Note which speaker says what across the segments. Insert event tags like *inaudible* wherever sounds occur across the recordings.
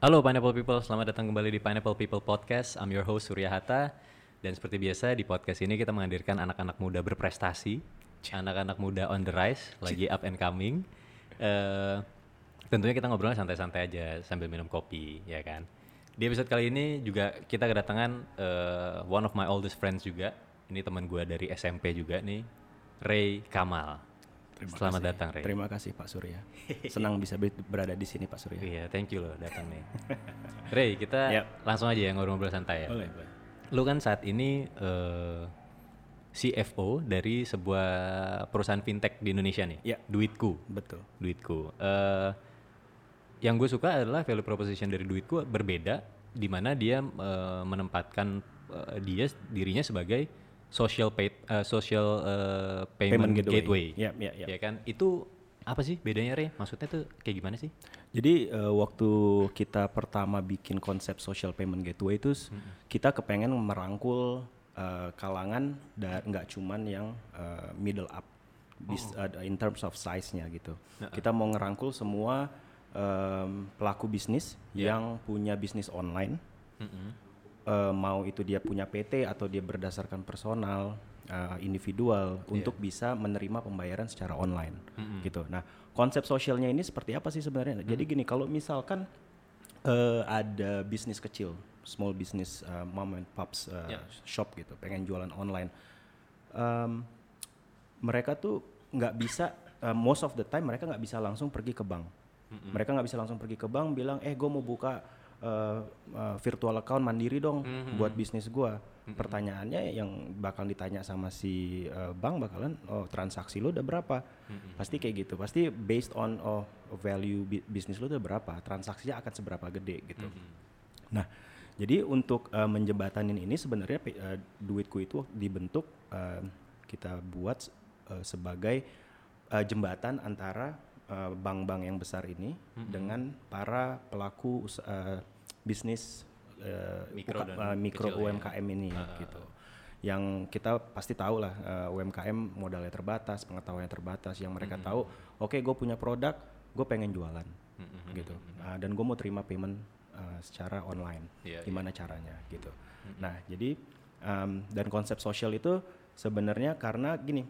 Speaker 1: Halo Pineapple People, selamat datang kembali di Pineapple People Podcast. I'm your host Surya Hatta. Dan seperti biasa di podcast ini kita menghadirkan anak-anak muda berprestasi, anak-anak muda on the rise, lagi up and coming. Eh, tentunya kita ngobrolnya santai-santai aja sambil minum kopi, ya kan? Di episode kali ini juga kita kedatangan eh, one of my oldest friends juga. Ini teman gue dari SMP juga nih, Ray Kamal. selamat datang Ray.
Speaker 2: Terima kasih Pak Surya. Senang bisa be- berada di sini Pak Surya.
Speaker 1: Iya, thank you loh datang
Speaker 2: *laughs*
Speaker 1: nih. Ray, kita
Speaker 2: Yap.
Speaker 1: langsung aja ya ngobrol-ngobrol santai ya.
Speaker 2: Boleh, boleh.
Speaker 1: Lu kan saat ini eh, CFO dari sebuah perusahaan fintech di Indonesia nih.
Speaker 2: Ya.
Speaker 1: Duitku,
Speaker 2: Betul.
Speaker 1: duitku. Eh, yang gue suka adalah value proposition dari duitku berbeda, di mana dia eh, menempatkan eh, dia dirinya sebagai social pay, eh, social eh, payment,
Speaker 2: Payment
Speaker 1: gateway.
Speaker 2: gateway. Iya, Yap, yap, yap.
Speaker 1: Ya kan? Itu apa sih bedanya Ray? Maksudnya tuh kayak gimana sih?
Speaker 2: Jadi eh, waktu kita pertama bikin konsep social payment gateway itu s- kita kepengen merangkul eh, kalangan da- nggak cuman yang eh, middle up bis-
Speaker 1: Oh.
Speaker 2: eh, in terms of size-nya gitu. Kita mau ngerangkul semua em, pelaku bisnis
Speaker 1: Iya.
Speaker 2: yang punya bisnis online. Eh, mau itu dia punya PT atau dia berdasarkan personal eh, individual untuk bisa menerima pembayaran secara online gitu. Nah, konsep sosialnya ini seperti apa sih sebenarnya? Nah, Jadi gini, kalau misalkan eh, ada bisnis kecil, small business eh, mom and pops
Speaker 1: Ya.
Speaker 2: eh, shop gitu, pengen jualan online. Em, mereka tuh nggak bisa uh, most of the time mereka nggak bisa langsung pergi ke bank mereka nggak bisa langsung pergi ke bank bilang eh gue mau buka uh, uh, virtual account mandiri dong buat bisnis gue pertanyaannya yang bakal ditanya sama si uh, bank bakalan oh transaksi lo udah berapa pasti kayak gitu pasti based on oh value bi- bisnis lo udah berapa transaksinya akan seberapa gede gitu Nah, jadi untuk eh, menjembatanin ini sebenarnya pe- eh, duitku itu waktu dibentuk eh, kita buat eh, sebagai eh, jembatan antara eh, bank-bank yang besar ini dengan para pelaku us- eh, bisnis eh,
Speaker 1: Mikro
Speaker 2: UK-
Speaker 1: dan
Speaker 2: eh, mikro
Speaker 1: kecil ya. ah,
Speaker 2: UMKM ini gitu. Yang kita pasti tahu lah eh, UMKM modalnya terbatas, pengetahuannya terbatas. Yang mereka tahu, oke gue punya produk, gue pengen jualan
Speaker 1: Mm-hmm.
Speaker 2: gitu. Ah, dan gue mau terima payment eh, secara online.
Speaker 1: Iya, Mm-hmm.
Speaker 2: Gimana caranya gitu. Nah jadi em, dan konsep sosial itu sebenarnya karena gini,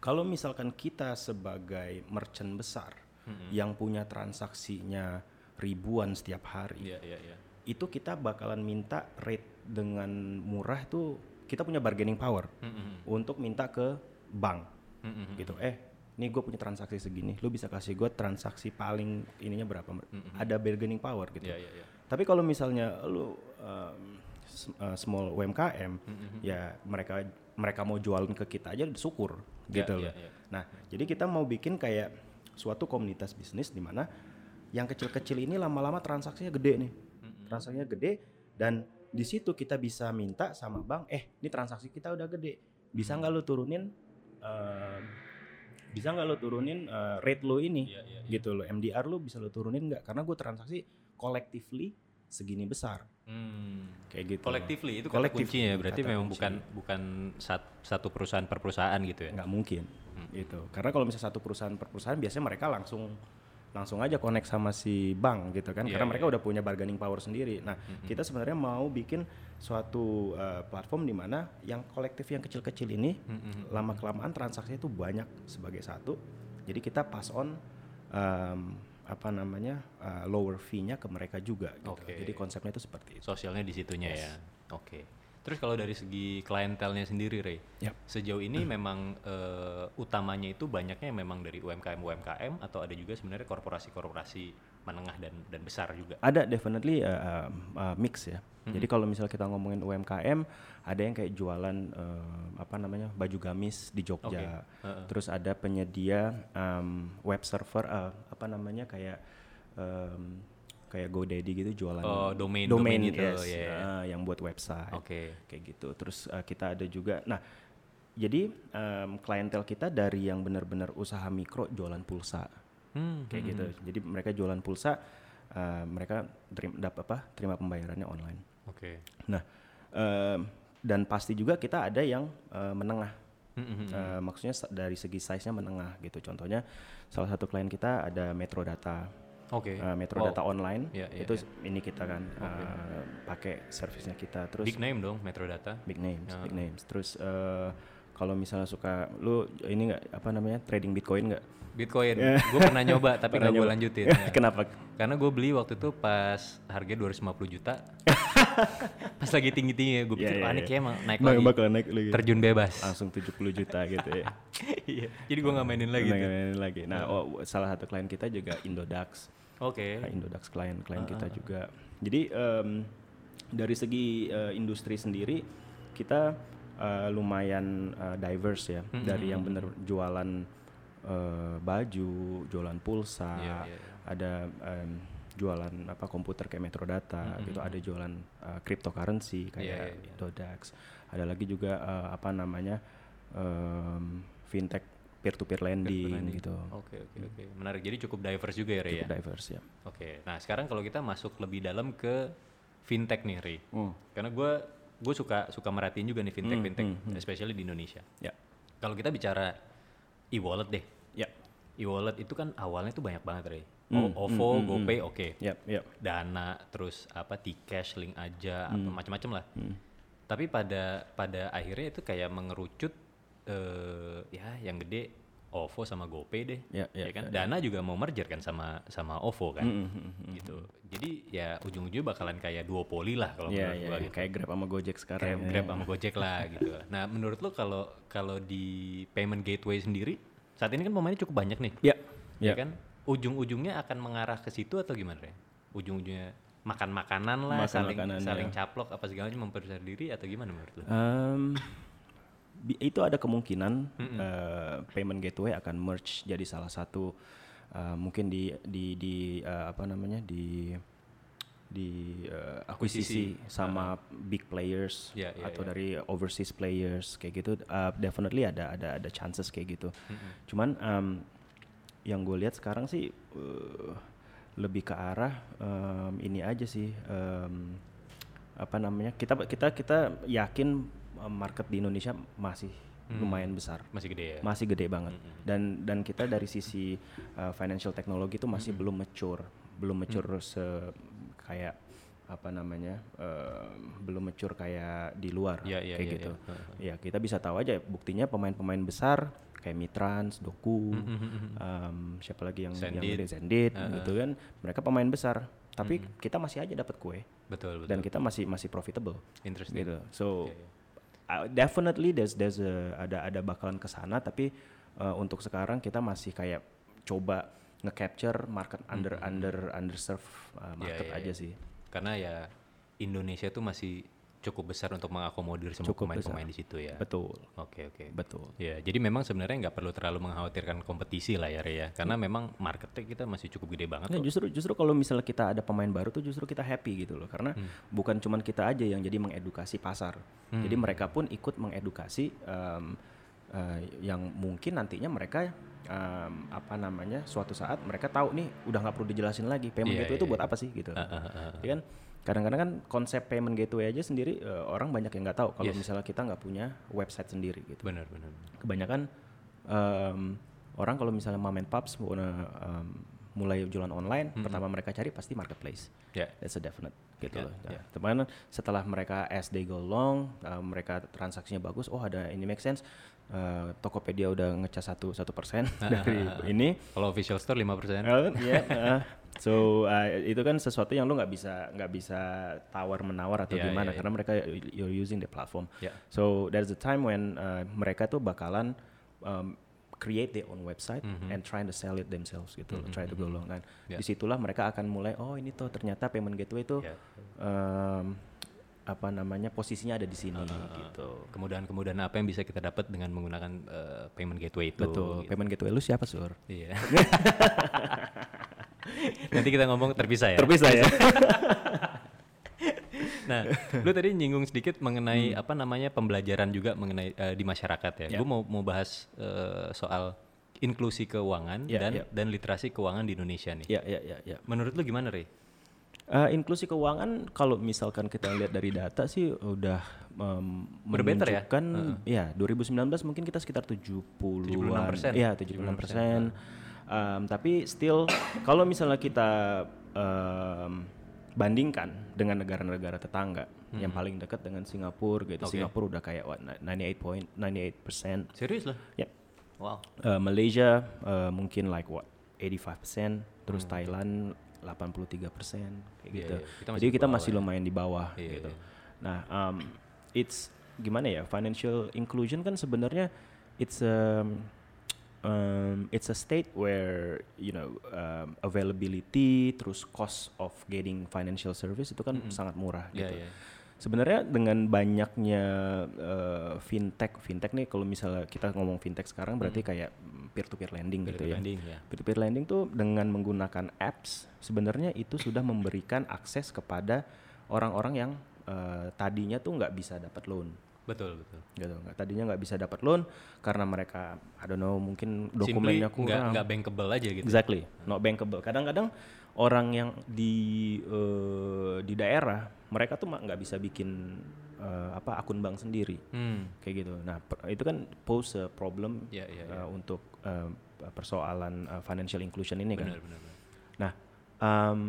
Speaker 2: kalau misalkan kita sebagai merchant besar
Speaker 1: Mm-hmm.
Speaker 2: yang punya transaksinya ribuan setiap hari
Speaker 1: Iya, iya, iya.
Speaker 2: itu kita bakalan minta rate dengan murah tuh kita punya bargaining power
Speaker 1: Hmm,
Speaker 2: untuk minta ke bank gitu eh nih gue punya transaksi segini lu bisa kasih gue transaksi paling ininya berapa ada bargaining power gitu
Speaker 1: Iya, iya, iya.
Speaker 2: tapi kalau misalnya lu um, s- uh, small UMKM
Speaker 1: Hmm,
Speaker 2: ya mereka mereka mau jualan ke kita aja syukur
Speaker 1: Ya,
Speaker 2: gitu
Speaker 1: ya,
Speaker 2: loh.
Speaker 1: ya.
Speaker 2: Nah, jadi kita mau bikin kayak suatu komunitas bisnis di mana yang kecil-kecil ini lama-lama transaksinya gede nih. Transaksinya gede dan di situ kita bisa minta sama bank, eh ini transaksi kita udah gede, bisa nggak lu turunin eh, bisa nggak lu turunin eh, rate lu ini
Speaker 1: Iya, iya,
Speaker 2: gitu loh MDR lu bisa lu turunin nggak karena gue transaksi collectively segini besar
Speaker 1: Hmm.
Speaker 2: kayak gitu
Speaker 1: Collectively itu kata
Speaker 2: Collective,
Speaker 1: kuncinya ya, berarti
Speaker 2: kata
Speaker 1: memang
Speaker 2: kunci.
Speaker 1: bukan bukan sat- satu perusahaan per perusahaan gitu ya.
Speaker 2: nggak mungkin gitu karena kalau misalnya satu perusahaan per perusahaan biasanya mereka langsung langsung aja connect sama si bank gitu kan
Speaker 1: Iya,
Speaker 2: karena
Speaker 1: iya, Hmm,
Speaker 2: mereka udah punya bargaining power sendiri nah kita sebenarnya mau bikin suatu eh, platform di mana yang kolektif yang kecil-kecil ini
Speaker 1: Hmm,
Speaker 2: lama kelamaan transaksinya itu banyak sebagai satu jadi kita pass on em, apa namanya eh, lower fee-nya ke mereka juga gitu
Speaker 1: Oke.
Speaker 2: jadi konsepnya itu seperti itu
Speaker 1: Sosialnya di situnya ya. Oke. Terus kalau dari segi klientelnya sendiri, Ray,
Speaker 2: Yap. Hmm.
Speaker 1: sejauh ini memang eh, utamanya itu banyaknya memang dari UMKM UMKM atau ada juga sebenarnya korporasi-korporasi menengah dan dan besar juga.
Speaker 2: Ada definitely uh, um, uh, mix ya.
Speaker 1: Hmm.
Speaker 2: Jadi kalau misalnya kita ngomongin UMKM, ada yang kayak jualan um, apa namanya baju gamis di Jogja.
Speaker 1: Oke,
Speaker 2: Terus ada penyedia um, web server uh, apa namanya kayak um, kayak GoDaddy gitu jualan
Speaker 1: Oh, domain- domain gitu,
Speaker 2: yes,
Speaker 1: ya, ya.
Speaker 2: uh, yang buat website
Speaker 1: Oke.
Speaker 2: kayak gitu. Terus uh, kita ada juga, nah jadi em, klientel kita dari yang benar-benar usaha mikro jualan pulsa
Speaker 1: Hmm.
Speaker 2: kayak gitu. Jadi mereka jualan pulsa, eh, mereka terima dap- apa terima pembayarannya online.
Speaker 1: Oke.
Speaker 2: Nah em, dan pasti juga kita ada yang eh, menengah.
Speaker 1: Hmm,
Speaker 2: Eh, maksudnya sa- dari segi size-nya menengah gitu. Contohnya salah satu klien kita ada Metro Data.
Speaker 1: Oke.
Speaker 2: eh, Metro
Speaker 1: Wow.
Speaker 2: Data Online
Speaker 1: Iya, iya,
Speaker 2: itu
Speaker 1: iya.
Speaker 2: ini kita kan eh, pakai servisnya kita terus
Speaker 1: Big name Ah. dong Metro Data.
Speaker 2: big names, big names. Terus eh, kalau misalnya suka lu ini nggak apa namanya trading Bitcoin nggak?
Speaker 1: Bitcoin.
Speaker 2: *laughs*
Speaker 1: Gue pernah nyoba tapi nggak gue lanjutin. ya.
Speaker 2: Kenapa?
Speaker 1: Karena gue beli waktu itu pas harga 250
Speaker 2: *laughs*
Speaker 1: juta. pas lagi tinggi-tinggi gue pikir wah
Speaker 2: Iya, iya,
Speaker 1: ini
Speaker 2: iya.
Speaker 1: kayaknya emang naik
Speaker 2: Nah,
Speaker 1: lagi.
Speaker 2: bakal naik lagi.
Speaker 1: Terjun bebas.
Speaker 2: Langsung 70 juta gitu ya.
Speaker 1: *laughs* Iya. Jadi gue nggak mainin lagi.
Speaker 2: Nah,
Speaker 1: tuh.
Speaker 2: ngomongin lagi. Nah, oh, salah satu klien kita juga Indodax.
Speaker 1: Oke.
Speaker 2: Nah, Indodax klien klien kita juga. Jadi em, dari segi eh, industri sendiri kita eh, lumayan eh, diverse ya.
Speaker 1: Hmm.
Speaker 2: Dari yang bener jualan eh, baju, jualan pulsa,
Speaker 1: Iya, iya, iya.
Speaker 2: ada em, jualan apa komputer kayak Metrodata gitu, ada jualan eh, cryptocurrency kayak
Speaker 1: Hmm, Iya, iya,
Speaker 2: Dodax. Ada lagi juga eh, apa namanya? em, fintech peer to peer lending gitu.
Speaker 1: Oke oke oke. Menarik. Jadi cukup diverse juga ya Rey ya.
Speaker 2: Diverse ya.
Speaker 1: Oke. Nah sekarang kalau kita masuk lebih dalam ke fintech nih Rey. Karena gue gue suka suka merhatiin juga nih fintech
Speaker 2: Hmm,
Speaker 1: fintech, especially di Indonesia.
Speaker 2: Ya.
Speaker 1: Kalau kita bicara e-wallet deh,
Speaker 2: Ya.
Speaker 1: e-wallet itu kan awalnya tuh banyak banget Rey. O-
Speaker 2: Hmm,
Speaker 1: OVO, GoPay, oke.
Speaker 2: Yap, yap.
Speaker 1: Dana, terus apa T-Cash, Link aja, apa
Speaker 2: Hmm.
Speaker 1: macam-macam lah. Tapi pada pada akhirnya itu kayak mengerucut eh ya yang gede OVO sama GoPay deh.
Speaker 2: Ya, ya, Hmm,
Speaker 1: kan? Dana juga mau merger kan sama sama OVO kan. Gitu. Jadi ya ujung-ujungnya bakalan kayak duopoli lah kalau
Speaker 2: Iya,
Speaker 1: menurut
Speaker 2: iya,
Speaker 1: gua
Speaker 2: iya.
Speaker 1: gitu.
Speaker 2: kayak Grab sama Gojek
Speaker 1: Kayak
Speaker 2: sekarang. ya.
Speaker 1: Grab sama Gojek
Speaker 2: *laughs*
Speaker 1: lah gitu. Nah, menurut lo kalau kalau di payment gateway sendiri saat ini kan pemainnya cukup banyak nih
Speaker 2: Ya.
Speaker 1: ya kan ujung-ujungnya akan mengarah ke situ atau gimana ya ujung-ujungnya makan makanan lah
Speaker 2: Makan
Speaker 1: saling
Speaker 2: makanan, ya.
Speaker 1: saling caplok apa segalanya memperbesar diri atau gimana menurut lu
Speaker 2: Em, bi- itu ada kemungkinan eh, payment gateway akan merge jadi salah satu eh, mungkin di di di eh, apa namanya di di eh, akuisisi sama big players
Speaker 1: Ah. Ya, ya,
Speaker 2: atau dari overseas players kayak gitu eh, definitely ada ada ada chances kayak gitu. Cuman em, yang gue lihat sekarang sih eh, lebih ke arah em, ini aja sih em, apa namanya kita kita kita yakin eh, market di Indonesia masih lumayan besar
Speaker 1: masih gede ya
Speaker 2: masih gede banget dan dan kita dari sisi uh, financial technology itu masih belum mature belum mature se kayak apa namanya uh, belum mature kayak di luar
Speaker 1: Ya, ya,
Speaker 2: kayak
Speaker 1: ya,
Speaker 2: gitu ya kita bisa tahu aja buktinya pemain-pemain besar kayak Mitrans, Doku, um, siapa lagi yang yang
Speaker 1: Zendit.
Speaker 2: gede, Zendit gitu kan mereka pemain besar tapi kita masih aja dapat kue
Speaker 1: betul betul
Speaker 2: dan kita masih masih profitable
Speaker 1: interesting
Speaker 2: gitu. So uh, definitely there's there's a- ada ada bakalan ke sana tapi uh, untuk sekarang kita masih kayak coba nge-capture market under under underserved uh, market
Speaker 1: iya,
Speaker 2: aja
Speaker 1: iya.
Speaker 2: sih.
Speaker 1: karena ya Indonesia tuh masih cukup besar untuk mengakomodir semua
Speaker 2: Cukup
Speaker 1: pemain-pemain di situ ya
Speaker 2: Betul.
Speaker 1: oke oke
Speaker 2: Betul.
Speaker 1: ya jadi memang sebenarnya nggak perlu terlalu mengkhawatirkan kompetisi lah ya Rey, ya
Speaker 2: Iya.
Speaker 1: karena memang marketnya kita masih cukup gede banget
Speaker 2: Nah,
Speaker 1: kok.
Speaker 2: justru justru kalau misalnya kita ada pemain baru tuh justru kita happy gitu loh karena
Speaker 1: Hmm.
Speaker 2: bukan cuman kita aja yang jadi mengedukasi pasar. Jadi mereka pun ikut mengedukasi em, eh, yang mungkin nantinya mereka em, apa namanya suatu saat mereka tahu nih udah nggak perlu dijelasin lagi payment
Speaker 1: Iya,
Speaker 2: gateway
Speaker 1: iya,
Speaker 2: itu buat apa sih gitu.
Speaker 1: ah, ah,
Speaker 2: Ya kan kadang-kadang kan konsep payment gateway aja sendiri eh, orang banyak yang nggak tahu kalau misalnya kita nggak punya website sendiri gitu
Speaker 1: benar benar
Speaker 2: kebanyakan em, orang kalau misalnya mom and pops wanna, eh, em, mulai jualan online
Speaker 1: Hmm.
Speaker 2: pertama mereka cari pasti marketplace
Speaker 1: ya
Speaker 2: that's a definite
Speaker 1: Yeah,
Speaker 2: gitu loh Nah, teman setelah mereka as they go long eh, mereka transaksinya bagus oh ada ini make sense eh, Tokopedia udah ngecas satu satu persen
Speaker 1: Ah,
Speaker 2: *laughs* dari ini
Speaker 1: kalau official store 5% persen
Speaker 2: Eh, *laughs* iya, eh. So uh, itu kan sesuatu yang lu nggak bisa nggak bisa tawar menawar atau
Speaker 1: Iya,
Speaker 2: gimana
Speaker 1: iya,
Speaker 2: karena mereka you're using the platform.
Speaker 1: Iya.
Speaker 2: So there's a time when uh, mereka tuh bakalan um, create their own website and trying to sell it themselves gitu, try to go long. Dan
Speaker 1: Mm-hmm. Iya.
Speaker 2: disitulah mereka akan mulai oh ini tuh ternyata payment gateway tuh
Speaker 1: Iya.
Speaker 2: um, apa namanya posisinya ada di sini gitu.
Speaker 1: kemudahan-kemudahan apa yang bisa kita dapat dengan menggunakan eh, payment gateway itu. gitu.
Speaker 2: Betul. Payment gateway lu siapa sur?
Speaker 1: Iya. *laughs* Nanti kita ngomong terpisah ya.
Speaker 2: Terpisah ya. *laughs*
Speaker 1: Nah, lu tadi nyinggung sedikit mengenai apa namanya pembelajaran juga mengenai eh, di masyarakat ya.
Speaker 2: Hmm. Ya.
Speaker 1: Gue mau mau bahas eh, soal inklusi keuangan
Speaker 2: Ya,
Speaker 1: dan
Speaker 2: ya.
Speaker 1: dan literasi keuangan di Indonesia nih.
Speaker 2: ya ya ya ya.
Speaker 1: Menurut lu gimana, Rey?
Speaker 2: Eh, inklusi keuangan kalau misalkan kita lihat dari data sih udah um,
Speaker 1: Udah better ya?
Speaker 2: menunjukkan ya? 2019 mungkin kita sekitar 70-an
Speaker 1: 76%.
Speaker 2: ya 76%. Um, tapi still kalau misalnya kita um, bandingkan dengan negara-negara tetangga yang paling dekat dengan Singapura
Speaker 1: Hmm.
Speaker 2: gitu.
Speaker 1: Oke.
Speaker 2: Singapura udah kayak what, 98 point Ya, 98%.
Speaker 1: Serius lah?
Speaker 2: Yep.
Speaker 1: Wow.
Speaker 2: Uh, Malaysia uh, mungkin like what 85%, terus Thailand 83% kayak
Speaker 1: Hmm. Iya,
Speaker 2: gitu.
Speaker 1: iya. Kita masih
Speaker 2: Jadi kita
Speaker 1: di bawah
Speaker 2: masih lumayan di bawah
Speaker 1: Iya,
Speaker 2: gitu.
Speaker 1: iya.
Speaker 2: Nah, um, it's gimana ya financial inclusion kan sebenarnya it's um, um, it's a state where you know um, availability terus cost of getting financial service itu kan sangat murah
Speaker 1: Iya,
Speaker 2: gitu.
Speaker 1: iya.
Speaker 2: Sebenarnya dengan banyaknya eh, fintech, fintech nih kalau misalnya kita ngomong fintech sekarang berarti kayak mm, peer-to-peer lending
Speaker 1: Hmm. Peer-to-peer
Speaker 2: gitu ya.
Speaker 1: lending, ya.
Speaker 2: Peer-to-peer lending tuh dengan menggunakan apps sebenarnya itu sudah memberikan akses kepada orang-orang yang eh, tadinya tuh nggak bisa dapat loan
Speaker 1: Betul, betul.
Speaker 2: gitu nggak tadinya nggak bisa dapat loan karena mereka I don't know mungkin dokumennya
Speaker 1: Simply nggak-
Speaker 2: kurang
Speaker 1: nggak bankable aja gitu.
Speaker 2: Exactly, not bankable. Kadang-kadang orang yang di eh, di daerah mereka tuh ma- nggak bisa bikin eh, apa akun bank sendiri
Speaker 1: Hmm.
Speaker 2: kayak gitu. Nah per- itu kan pose a problem
Speaker 1: Iya, iya,
Speaker 2: eh, untuk eh, persoalan eh, financial inclusion ini kan.
Speaker 1: Benar, benar. benar.
Speaker 2: Nah, em,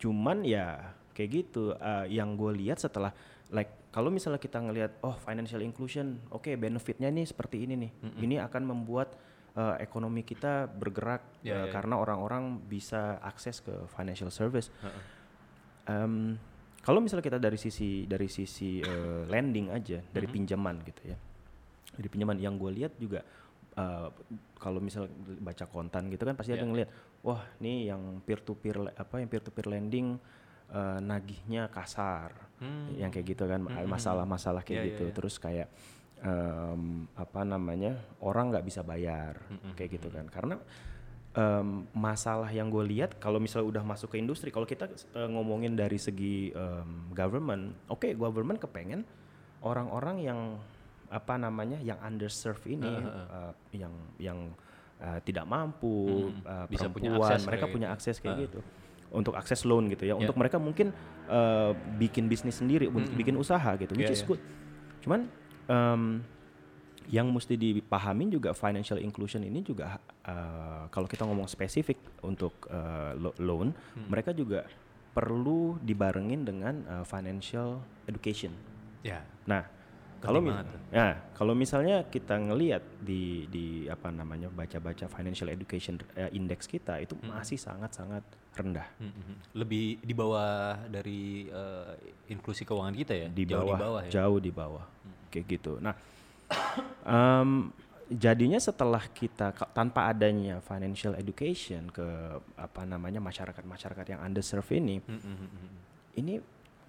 Speaker 2: cuman ya kayak gitu. eh, yang gue lihat setelah like kalau misalnya kita ngelihat oh financial inclusion, oke benefitnya nih seperti ini nih. Ini akan membuat eh, ekonomi kita bergerak
Speaker 1: Ya,
Speaker 2: eh,
Speaker 1: ya, ya.
Speaker 2: karena orang-orang bisa akses ke financial service. Em, kalau misalnya kita dari sisi dari sisi eh, lending aja, dari
Speaker 1: Mhm.
Speaker 2: pinjaman gitu ya. Dari pinjaman yang gue lihat juga eh, kalau misalnya baca kontan gitu kan pasti
Speaker 1: Ya.
Speaker 2: ada yang ngelihat, wah ini yang peer to peer apa yang peer to peer lending eh, nagihnya kasar.
Speaker 1: Hmm.
Speaker 2: Yang kayak gitu kan masalah-masalah kayak
Speaker 1: Ya, ya,
Speaker 2: gitu.
Speaker 1: ya.
Speaker 2: Terus kayak em, apa namanya? orang nggak bisa bayar kayak gitu kan. Karena em, masalah yang gue lihat kalau misalnya udah masuk ke industri, kalau kita eh, ngomongin dari segi em, government, oke government kepengen orang-orang yang apa namanya yang underserved ini, eh, yang yang eh, tidak mampu,
Speaker 1: Mm,
Speaker 2: eh,
Speaker 1: bisa punya
Speaker 2: perempuan,
Speaker 1: akses
Speaker 2: mereka
Speaker 1: kayak
Speaker 2: punya
Speaker 1: gitu.
Speaker 2: akses kayak
Speaker 1: Ah.
Speaker 2: gitu untuk akses loan gitu
Speaker 1: Ya.
Speaker 2: ya, untuk mereka mungkin eh, bikin bisnis sendiri, untuk bikin usaha gitu, which
Speaker 1: Ya,
Speaker 2: is
Speaker 1: ya.
Speaker 2: good. Cuman em, yang mesti dipahamin juga financial inclusion ini juga eh, kalau kita ngomong spesifik untuk eh, lo- loan,
Speaker 1: Hmm.
Speaker 2: mereka juga perlu dibarengin dengan eh, financial education.
Speaker 1: Ya.
Speaker 2: Nah, kalau mi-
Speaker 1: banget tuh.
Speaker 2: nah, kalau misalnya kita ngelihat di di apa namanya baca-baca financial education eh, index kita itu masih sangat-sangat rendah.
Speaker 1: Hmm, hmm, hmm. Lebih di bawah dari eh, inklusi keuangan kita ya?
Speaker 2: di
Speaker 1: Jauh
Speaker 2: bawah,
Speaker 1: di bawah ya? Hmm.
Speaker 2: jauh di bawah, kayak gitu. Nah, em, jadinya setelah kita ka- tanpa adanya financial education ke apa namanya masyarakat-masyarakat yang underserved ini,
Speaker 1: Hmm, hmm, hmm, hmm.
Speaker 2: ini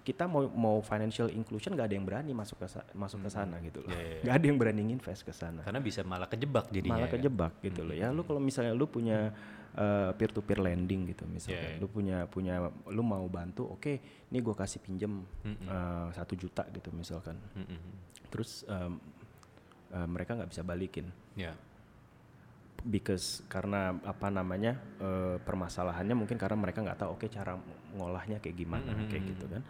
Speaker 2: kita mau mau financial inclusion gak ada yang berani masuk ke sa- masuk ke sana gitu loh,
Speaker 1: Ya, ya, ya.
Speaker 2: gak ada yang berani invest ke sana
Speaker 1: Karena bisa malah kejebak jadinya. ya
Speaker 2: malah
Speaker 1: kan?
Speaker 2: kejebak gitu loh ya lu kalau misalnya lu punya peer to peer lending gitu
Speaker 1: Iya,
Speaker 2: misalnya
Speaker 1: iya.
Speaker 2: lu punya punya lu mau bantu oke ini gua kasih pinjem eh, satu juta gitu misalkan
Speaker 1: Hmm, hmm, hmm.
Speaker 2: terus em, eh, mereka nggak bisa balikin
Speaker 1: Ya.
Speaker 2: because karena apa namanya eh, permasalahannya mungkin karena mereka nggak tahu oke cara ngolahnya kayak gimana
Speaker 1: Mm-hmm.
Speaker 2: kayak gitu kan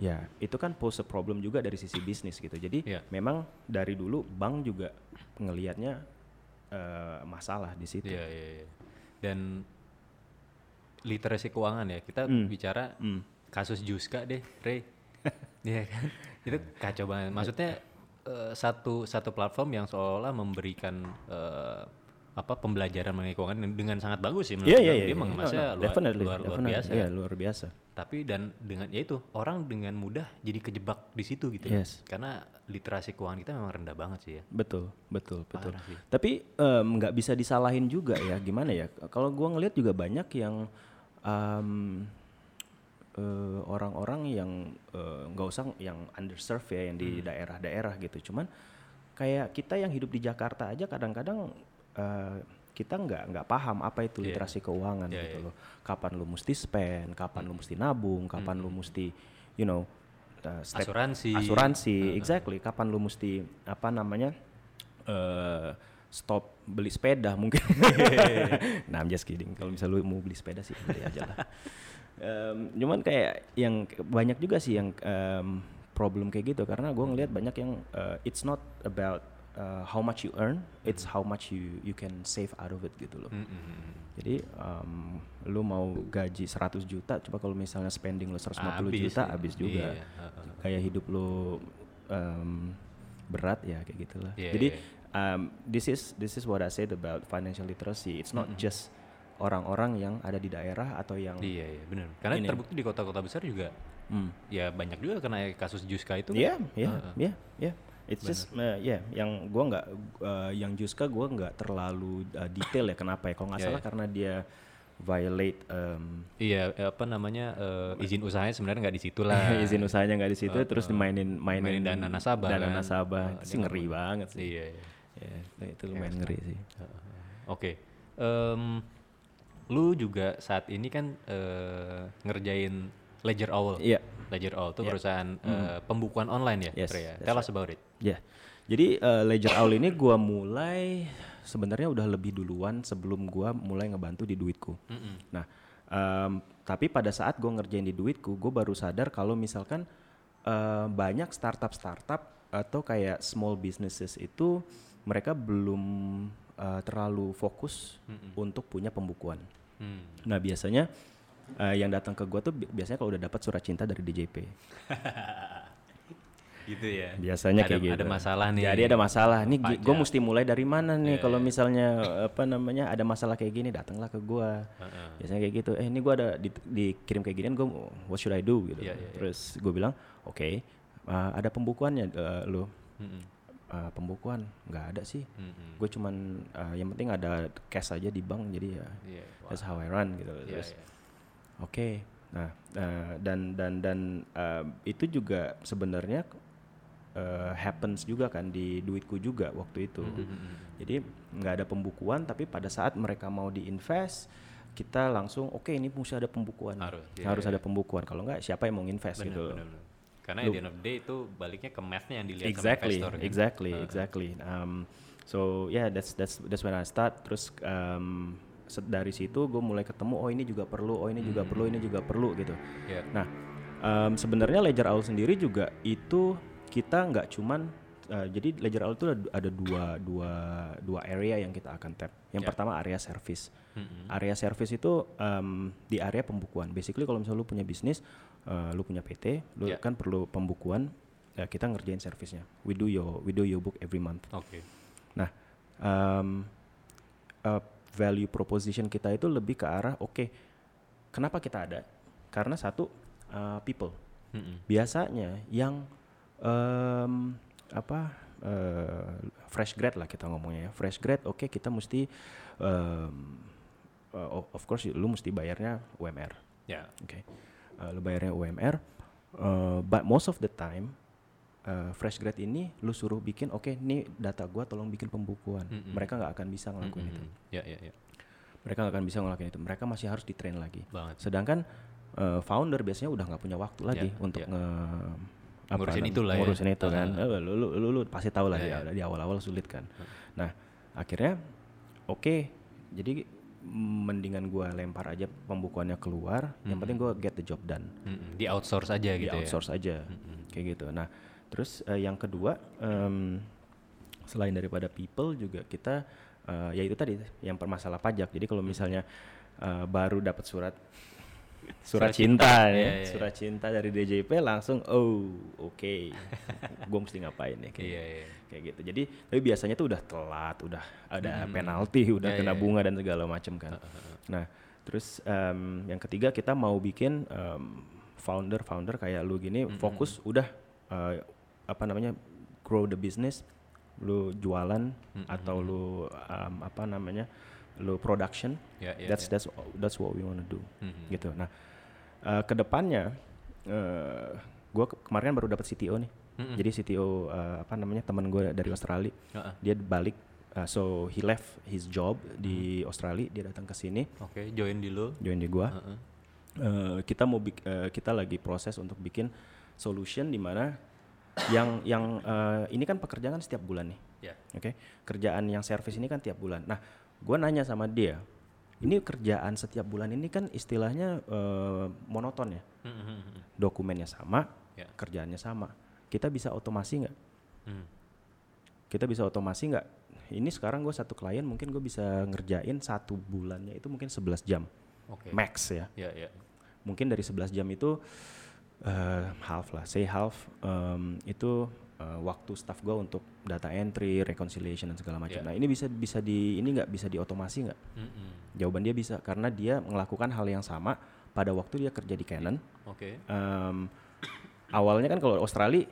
Speaker 2: ya itu kan pose problem juga dari sisi bisnis gitu jadi
Speaker 1: Iya.
Speaker 2: memang dari dulu bank juga ngelihatnya eh, masalah di situ
Speaker 1: Iya, iya, iya. Dan literasi keuangan ya, kita
Speaker 2: Hmm.
Speaker 1: bicara kasus Juska deh,
Speaker 2: *laughs*
Speaker 1: Rey. Iya kan? Itu kacau banget. Maksudnya eh, satu satu platform yang seolah memberikan eh, apa pembelajaran mengenai keuangan dengan- dengan sangat bagus sih menurut
Speaker 2: Iya
Speaker 1: gua.
Speaker 2: iya iya.
Speaker 1: Dia
Speaker 2: iya.
Speaker 1: mengemasnya
Speaker 2: No, no,
Speaker 1: luar,
Speaker 2: definitely,
Speaker 1: luar, luar
Speaker 2: definitely.
Speaker 1: biasa.
Speaker 2: Iya, luar biasa.
Speaker 1: Tapi dan dengan ya itu orang dengan mudah jadi kejebak di situ gitu. loh.
Speaker 2: Yes.
Speaker 1: Karena literasi keuangan kita memang rendah banget sih ya.
Speaker 2: Betul, betul, betul.
Speaker 1: Parah sih.
Speaker 2: Tapi em, nggak bisa disalahin juga ya, gimana ya? Kalau gua ngelihat juga banyak yang em, eh, orang-orang yang eh, nggak usah yang underserved ya, yang di
Speaker 1: Hmm.
Speaker 2: daerah-daerah gitu. Cuman kayak kita yang hidup di Jakarta aja kadang-kadang eh, kita nggak nggak paham apa itu
Speaker 1: Iya.
Speaker 2: literasi keuangan
Speaker 1: Iya, Hmm.
Speaker 2: gitu loh. Kapan lu mesti spend, kapan lu mesti nabung, kapan lu mesti you know eh, step
Speaker 1: Asuransi.
Speaker 2: asuransi exactly kapan lu mesti apa namanya eh stop beli sepeda
Speaker 1: *laughs*
Speaker 2: mungkin nah I'm just kidding kalau misalnya lu mau beli sepeda sih beli aja
Speaker 1: *laughs*
Speaker 2: lah Em, cuman kayak yang banyak juga sih yang em, problem kayak gitu karena gue ngelihat banyak yang eh, it's not about eh, uh, how much you earn, it's
Speaker 1: Hmm.
Speaker 2: how much you you can save out of it gitu loh.
Speaker 1: Mm-mm.
Speaker 2: Jadi um, lu mau gaji 100 juta, coba kalau misalnya spending lu 150
Speaker 1: Habis
Speaker 2: juta
Speaker 1: ya.
Speaker 2: habis juga.
Speaker 1: Iya, heeh.
Speaker 2: Kayak hidup lu um, berat ya kayak gitulah.
Speaker 1: Iya,
Speaker 2: Jadi
Speaker 1: iya,
Speaker 2: um, this is this is what I said about financial literacy. It's not just orang-orang yang ada di daerah atau yang
Speaker 1: Mhm. Iya iya benar. Karena
Speaker 2: Ini.
Speaker 1: terbukti di kota-kota besar juga
Speaker 2: Hmm.
Speaker 1: ya banyak juga kena kasus Juska itu. kan.
Speaker 2: Ya, ya,
Speaker 1: Heeh.
Speaker 2: ya, ya. It's just uh, ya yang gua nggak uh, yang Juska gua nggak terlalu uh, detail ya kenapa ya kalau nggak
Speaker 1: Ya,
Speaker 2: salah
Speaker 1: ya.
Speaker 2: karena dia violate um,
Speaker 1: Iya apa namanya eh, izin usahanya sebenarnya nggak di situ lah.
Speaker 2: *laughs* izin usahanya nggak di situ terus dimainin
Speaker 1: Iya,
Speaker 2: mainin,
Speaker 1: mainin dana nasabah
Speaker 2: dana
Speaker 1: kan.
Speaker 2: nasabah
Speaker 1: Oh,
Speaker 2: itu
Speaker 1: dia
Speaker 2: sih ngeri banget sih
Speaker 1: Iya. iya.
Speaker 2: Ya, itu lumayan ngeri sih
Speaker 1: Oke. Em, lu juga saat ini kan eh, ngerjain Ledger Owl.
Speaker 2: Iya.
Speaker 1: Ledger Owl itu perusahaan eh, pembukuan online ya,
Speaker 2: Yes,
Speaker 1: Tre, ya?
Speaker 2: that's
Speaker 1: Tell us about it.
Speaker 2: ya jadi uh, ledger owl ini gua mulai sebenarnya udah lebih duluan sebelum gua mulai ngebantu di duitku nah em, tapi pada saat gua ngerjain di duitku gue baru sadar kalau misalkan eh, banyak startup startup atau kayak small businesses itu mereka belum eh, terlalu fokus untuk punya pembukuan
Speaker 1: Hmm.
Speaker 2: Nah biasanya eh, yang datang ke gue tuh bi- biasanya kalau udah dapat surat cinta dari DJP.
Speaker 1: Gitu ya.
Speaker 2: Biasanya
Speaker 1: ada,
Speaker 2: kayak gitu.
Speaker 1: Ada masalah nih. Iya,
Speaker 2: Jadi ada masalah. Nih
Speaker 1: Pajak.
Speaker 2: gue mesti mulai dari mana nih? Kalau misalnya apa namanya ada masalah kayak gini datanglah ke gue.
Speaker 1: Heeh.
Speaker 2: Biasanya kayak gitu. Eh ini gue ada di- dikirim kayak gini. Gue what should I do gitu.
Speaker 1: Iya, iya, iya.
Speaker 2: Terus gue bilang oke eh, ada pembukuannya eh, lo.
Speaker 1: Mm-mm.
Speaker 2: Eh, pembukuan nggak ada sih.
Speaker 1: Mm-mm.
Speaker 2: Gue cuman eh, yang penting ada cash aja di bank. Jadi ya
Speaker 1: Iya. Wah.
Speaker 2: that's how I run gitu.
Speaker 1: Iya,
Speaker 2: Terus
Speaker 1: iya.
Speaker 2: Oke. Nah, eh, dan dan dan eh, itu juga sebenarnya eh, happens juga kan di duitku juga waktu itu.
Speaker 1: Mm-hmm.
Speaker 2: Jadi nggak ada pembukuan, tapi pada saat mereka mau diinvest, kita langsung oke ini mesti ada pembukuan.
Speaker 1: Harus, iya,
Speaker 2: Harus
Speaker 1: iya.
Speaker 2: ada pembukuan. Kalau nggak siapa yang mau invest
Speaker 1: Benar,
Speaker 2: gitu. loh.
Speaker 1: benar, benar. Karena at the end of the day itu baliknya ke mathnya yang dilihat
Speaker 2: Exactly,
Speaker 1: sama investor. kan?
Speaker 2: exactly,
Speaker 1: Heeh.
Speaker 2: exactly. Um, so yeah, that's that's that's when I start. Terus um, se- dari situ gue mulai ketemu, oh ini juga perlu, oh ini juga
Speaker 1: Hmm.
Speaker 2: perlu, ini juga perlu gitu.
Speaker 1: Iya.
Speaker 2: Nah, em, sebenarnya Ledger Owl sendiri juga itu kita nggak cuman eh, jadi Ledger Owl itu ada- ada dua dua dua area yang kita akan tap. Yang
Speaker 1: Ya. Hmm.
Speaker 2: pertama area service.
Speaker 1: Mm-mm.
Speaker 2: Area service itu em, di area pembukuan. Basically kalau misalnya lu punya bisnis, eh, lu punya PT, lu
Speaker 1: Ya.
Speaker 2: kan perlu pembukuan. ya kita ngerjain servisnya. We do your we do your book every month.
Speaker 1: Oke.
Speaker 2: Nah, em, eh, value proposition kita itu lebih ke arah oke, kenapa kita ada? Karena satu eh, people
Speaker 1: Mm-mm.
Speaker 2: biasanya yang em, apa eh, fresh grad lah kita ngomongnya ya fresh grad oke kita mesti em, eh, o- of course lu mesti bayarnya UMR
Speaker 1: Ya.
Speaker 2: oke Eh, lu bayarnya UMR eh, but most of the time eh, fresh grad ini lu suruh bikin oke nih data gua tolong bikin pembukuan
Speaker 1: Mm-mm.
Speaker 2: mereka nggak akan bisa ngelakuin itu
Speaker 1: Mm-mm. Ya, ya, ya.
Speaker 2: mereka nggak akan bisa ngelakuin itu mereka masih harus ditrain lagi
Speaker 1: Banget.
Speaker 2: sedangkan eh, founder biasanya udah nggak punya waktu lagi
Speaker 1: Ya,
Speaker 2: untuk
Speaker 1: ya.
Speaker 2: nge
Speaker 1: Ngurusin
Speaker 2: nam-
Speaker 1: itu lah ya.
Speaker 2: ngurusin itu kan
Speaker 1: Ah.
Speaker 2: Eh, lu, lu, lu- lu pasti tahu lah
Speaker 1: Ya,
Speaker 2: di- di awal-awal sulit kan nah akhirnya oke jadi mendingan gua lempar aja pembukuannya keluar yang
Speaker 1: Hmm.
Speaker 2: penting gua get the job done
Speaker 1: Mm-mm. Di outsource aja
Speaker 2: di
Speaker 1: gitu ya.
Speaker 2: outsource aja kayak gitu nah terus eh, yang kedua em, selain daripada people juga kita eh, ya itu tadi yang permasalah pajak jadi kalau misalnya eh, baru dapat surat
Speaker 1: Surat
Speaker 2: surat cinta,
Speaker 1: cinta,
Speaker 2: ya,
Speaker 1: iya, iya.
Speaker 2: surat cinta dari DJP langsung oh oke
Speaker 1: *laughs*
Speaker 2: gue mesti ngapain ya kayak
Speaker 1: Iya, iya.
Speaker 2: kayak gitu jadi tapi biasanya tuh udah telat udah ada penalti udah
Speaker 1: Iya, iya,
Speaker 2: kena
Speaker 1: iya.
Speaker 2: bunga dan segala macam kan
Speaker 1: Uh,
Speaker 2: nah terus em, yang ketiga kita mau bikin founder founder kayak lu gini fokus udah eh, apa namanya grow the business lu jualan atau lu em, apa namanya lu production
Speaker 1: Ya, ya,
Speaker 2: that's that's that's what we wanna do
Speaker 1: Mhm.
Speaker 2: gitu nah eh, kedepannya eh gue kemarin kan baru dapat CTO nih
Speaker 1: Mhm.
Speaker 2: jadi CTO eh, apa namanya teman gue dari Australia
Speaker 1: Heeh.
Speaker 2: dia balik eh, so he left his job di
Speaker 1: Mm-hmm.
Speaker 2: Australia dia datang ke sini
Speaker 1: Oke, join di lu.
Speaker 2: join di gua
Speaker 1: Heeh.
Speaker 2: Eh, kita mau bik- eh, kita lagi proses untuk bikin solution di mana yang yang eh, ini kan pekerjaan kan setiap bulan nih
Speaker 1: Ya.
Speaker 2: Oke, kerjaan yang servis ini kan tiap bulan. Nah, gue nanya sama dia, ini kerjaan setiap bulan ini kan istilahnya eh, monoton ya,
Speaker 1: Mm-mm.
Speaker 2: dokumennya sama,
Speaker 1: Ya.
Speaker 2: kerjaannya sama. Kita bisa otomasi nggak?
Speaker 1: Mm.
Speaker 2: kita bisa otomasi nggak ini sekarang gue satu klien mungkin gue bisa ngerjain satu bulannya itu mungkin 11 jam
Speaker 1: Oke.
Speaker 2: max ya
Speaker 1: Ya, ya.
Speaker 2: mungkin dari 11 jam itu eh, half lah say half em, itu eh, waktu staff gue untuk data entry reconciliation dan segala macam
Speaker 1: Iya.
Speaker 2: nah ini bisa bisa di ini nggak bisa diotomasi nggak
Speaker 1: Mm-mm.
Speaker 2: jawaban dia bisa karena dia melakukan hal yang sama pada waktu dia kerja di Canon
Speaker 1: Oke.
Speaker 2: Em, awalnya kan kalau Australia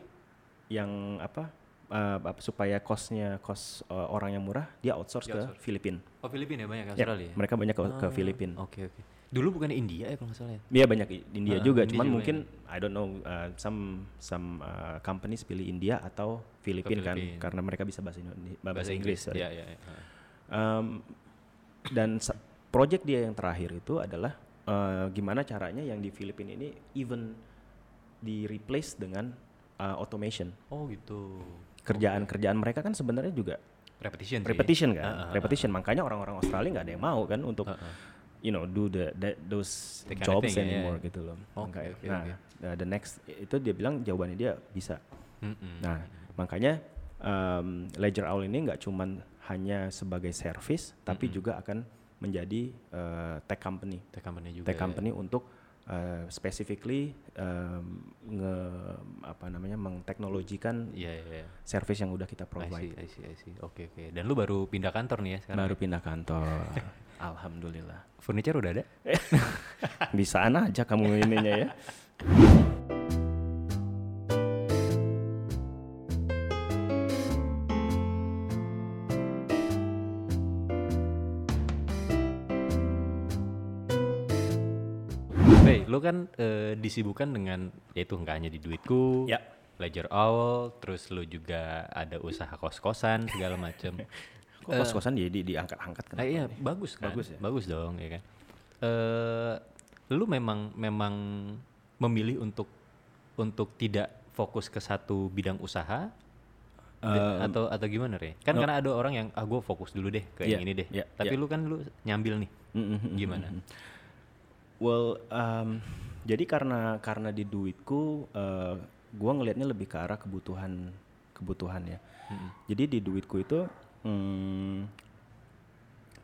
Speaker 2: yang apa eh, apa- supaya costnya cost eh, orang yang murah dia outsource
Speaker 1: Dia
Speaker 2: ke
Speaker 1: outsource.
Speaker 2: Filipina.
Speaker 1: Oh, Filipina ya banyak
Speaker 2: Ya,
Speaker 1: Australia. ya?
Speaker 2: mereka banyak ke, ke
Speaker 1: Ah,
Speaker 2: Filipina.
Speaker 1: Oke, oke. Dulu bukan India ya kalau nggak salah ya?
Speaker 2: Iya banyak i- India
Speaker 1: Ah,
Speaker 2: juga,
Speaker 1: India
Speaker 2: cuman
Speaker 1: juga iya.
Speaker 2: mungkin I don't know uh, some some uh, companies pilih India atau Filipina kan
Speaker 1: Filipina.
Speaker 2: karena mereka bisa bahasa Indo- bahasa Inggris. sorry.
Speaker 1: Iya, iya, iya.
Speaker 2: Um, dan sa- project dia yang terakhir itu adalah uh, gimana caranya yang di Filipina ini even di replace dengan uh, automation.
Speaker 1: Oh, gitu.
Speaker 2: Kerjaan-kerjaan mereka kan sebenarnya juga
Speaker 1: Repetition sih ya?
Speaker 2: repetition kan,
Speaker 1: Ah, ah, ah.
Speaker 2: repetition. Makanya orang-orang Australia nggak ada yang mau kan untuk
Speaker 1: Ah, ah.
Speaker 2: you know do the, that- those
Speaker 1: That kind of
Speaker 2: jobs
Speaker 1: thing, ya,
Speaker 2: anymore
Speaker 1: ya.
Speaker 2: gitu loh.
Speaker 1: Oke,
Speaker 2: Makanya-
Speaker 1: oke,
Speaker 2: nah,
Speaker 1: oke.
Speaker 2: uh, the next itu dia bilang jawabannya dia bisa.
Speaker 1: Mm-mm.
Speaker 2: Nah, makanya um, Ledger Owl ini nggak cuman hanya sebagai service,
Speaker 1: Hmm.
Speaker 2: tapi juga akan menjadi uh, tech company,
Speaker 1: Tech company juga.
Speaker 2: tech
Speaker 1: ya.
Speaker 2: company untuk uh, specifically um, nge apa namanya mengteknologikan
Speaker 1: Iya, iya, iya.
Speaker 2: service yang udah kita
Speaker 1: I
Speaker 2: provide.
Speaker 1: see, I see, I see. Oke, oke. Dan lu baru pindah kantor nih ya sekarang?
Speaker 2: Baru pindah kantor. *laughs* Alhamdulillah.
Speaker 1: Furniture udah ada?
Speaker 2: Eh. Di sana aja kamu ininya ya.
Speaker 1: Bey, lu kan eh, disibukkan dengan yaitu nggak hanya di duitku,
Speaker 2: Ya.
Speaker 1: ledger awal, terus lu juga ada usaha kos-kosan segala macem.
Speaker 2: *laughs* Kok kos-kosan jadi diangkat-angkat
Speaker 1: Ah,
Speaker 2: kenapa?
Speaker 1: iya, bagus kan?
Speaker 2: Bagus ya?
Speaker 1: dong, ya kan. Eh, lu memang memang memilih untuk untuk tidak fokus ke satu bidang usaha Da- atau atau gimana Re? Kan karena ada orang yang ah gue fokus dulu deh ke yang
Speaker 2: Iya,
Speaker 1: ini deh.
Speaker 2: iya,
Speaker 1: Tapi lu kan lu nyambil nih. Gimana?
Speaker 2: Well, um, jadi karena karena di duitku, uh, gua ngelihatnya lebih ke arah kebutuhan kebutuhannya. Jadi di duitku itu, mm,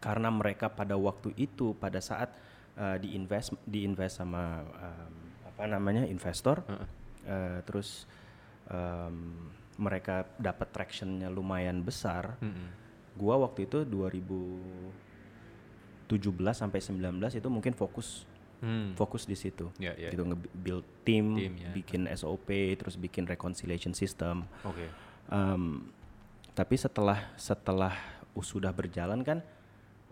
Speaker 2: karena mereka pada waktu itu pada saat uh, di invest di invest sama um, apa namanya investor, uh, terus um, mereka dapat tractionnya lumayan besar.
Speaker 1: Mm-mm.
Speaker 2: Gua waktu itu 2017 sampai 19 itu mungkin fokus
Speaker 1: Hmm.
Speaker 2: fokus di situ.
Speaker 1: Ya, ya.
Speaker 2: Gitu nge-build tim,
Speaker 1: Tim, ya.
Speaker 2: bikin SOP, terus bikin reconciliation system.
Speaker 1: Oke.
Speaker 2: Um, tapi setelah setelah u- sudah berjalan kan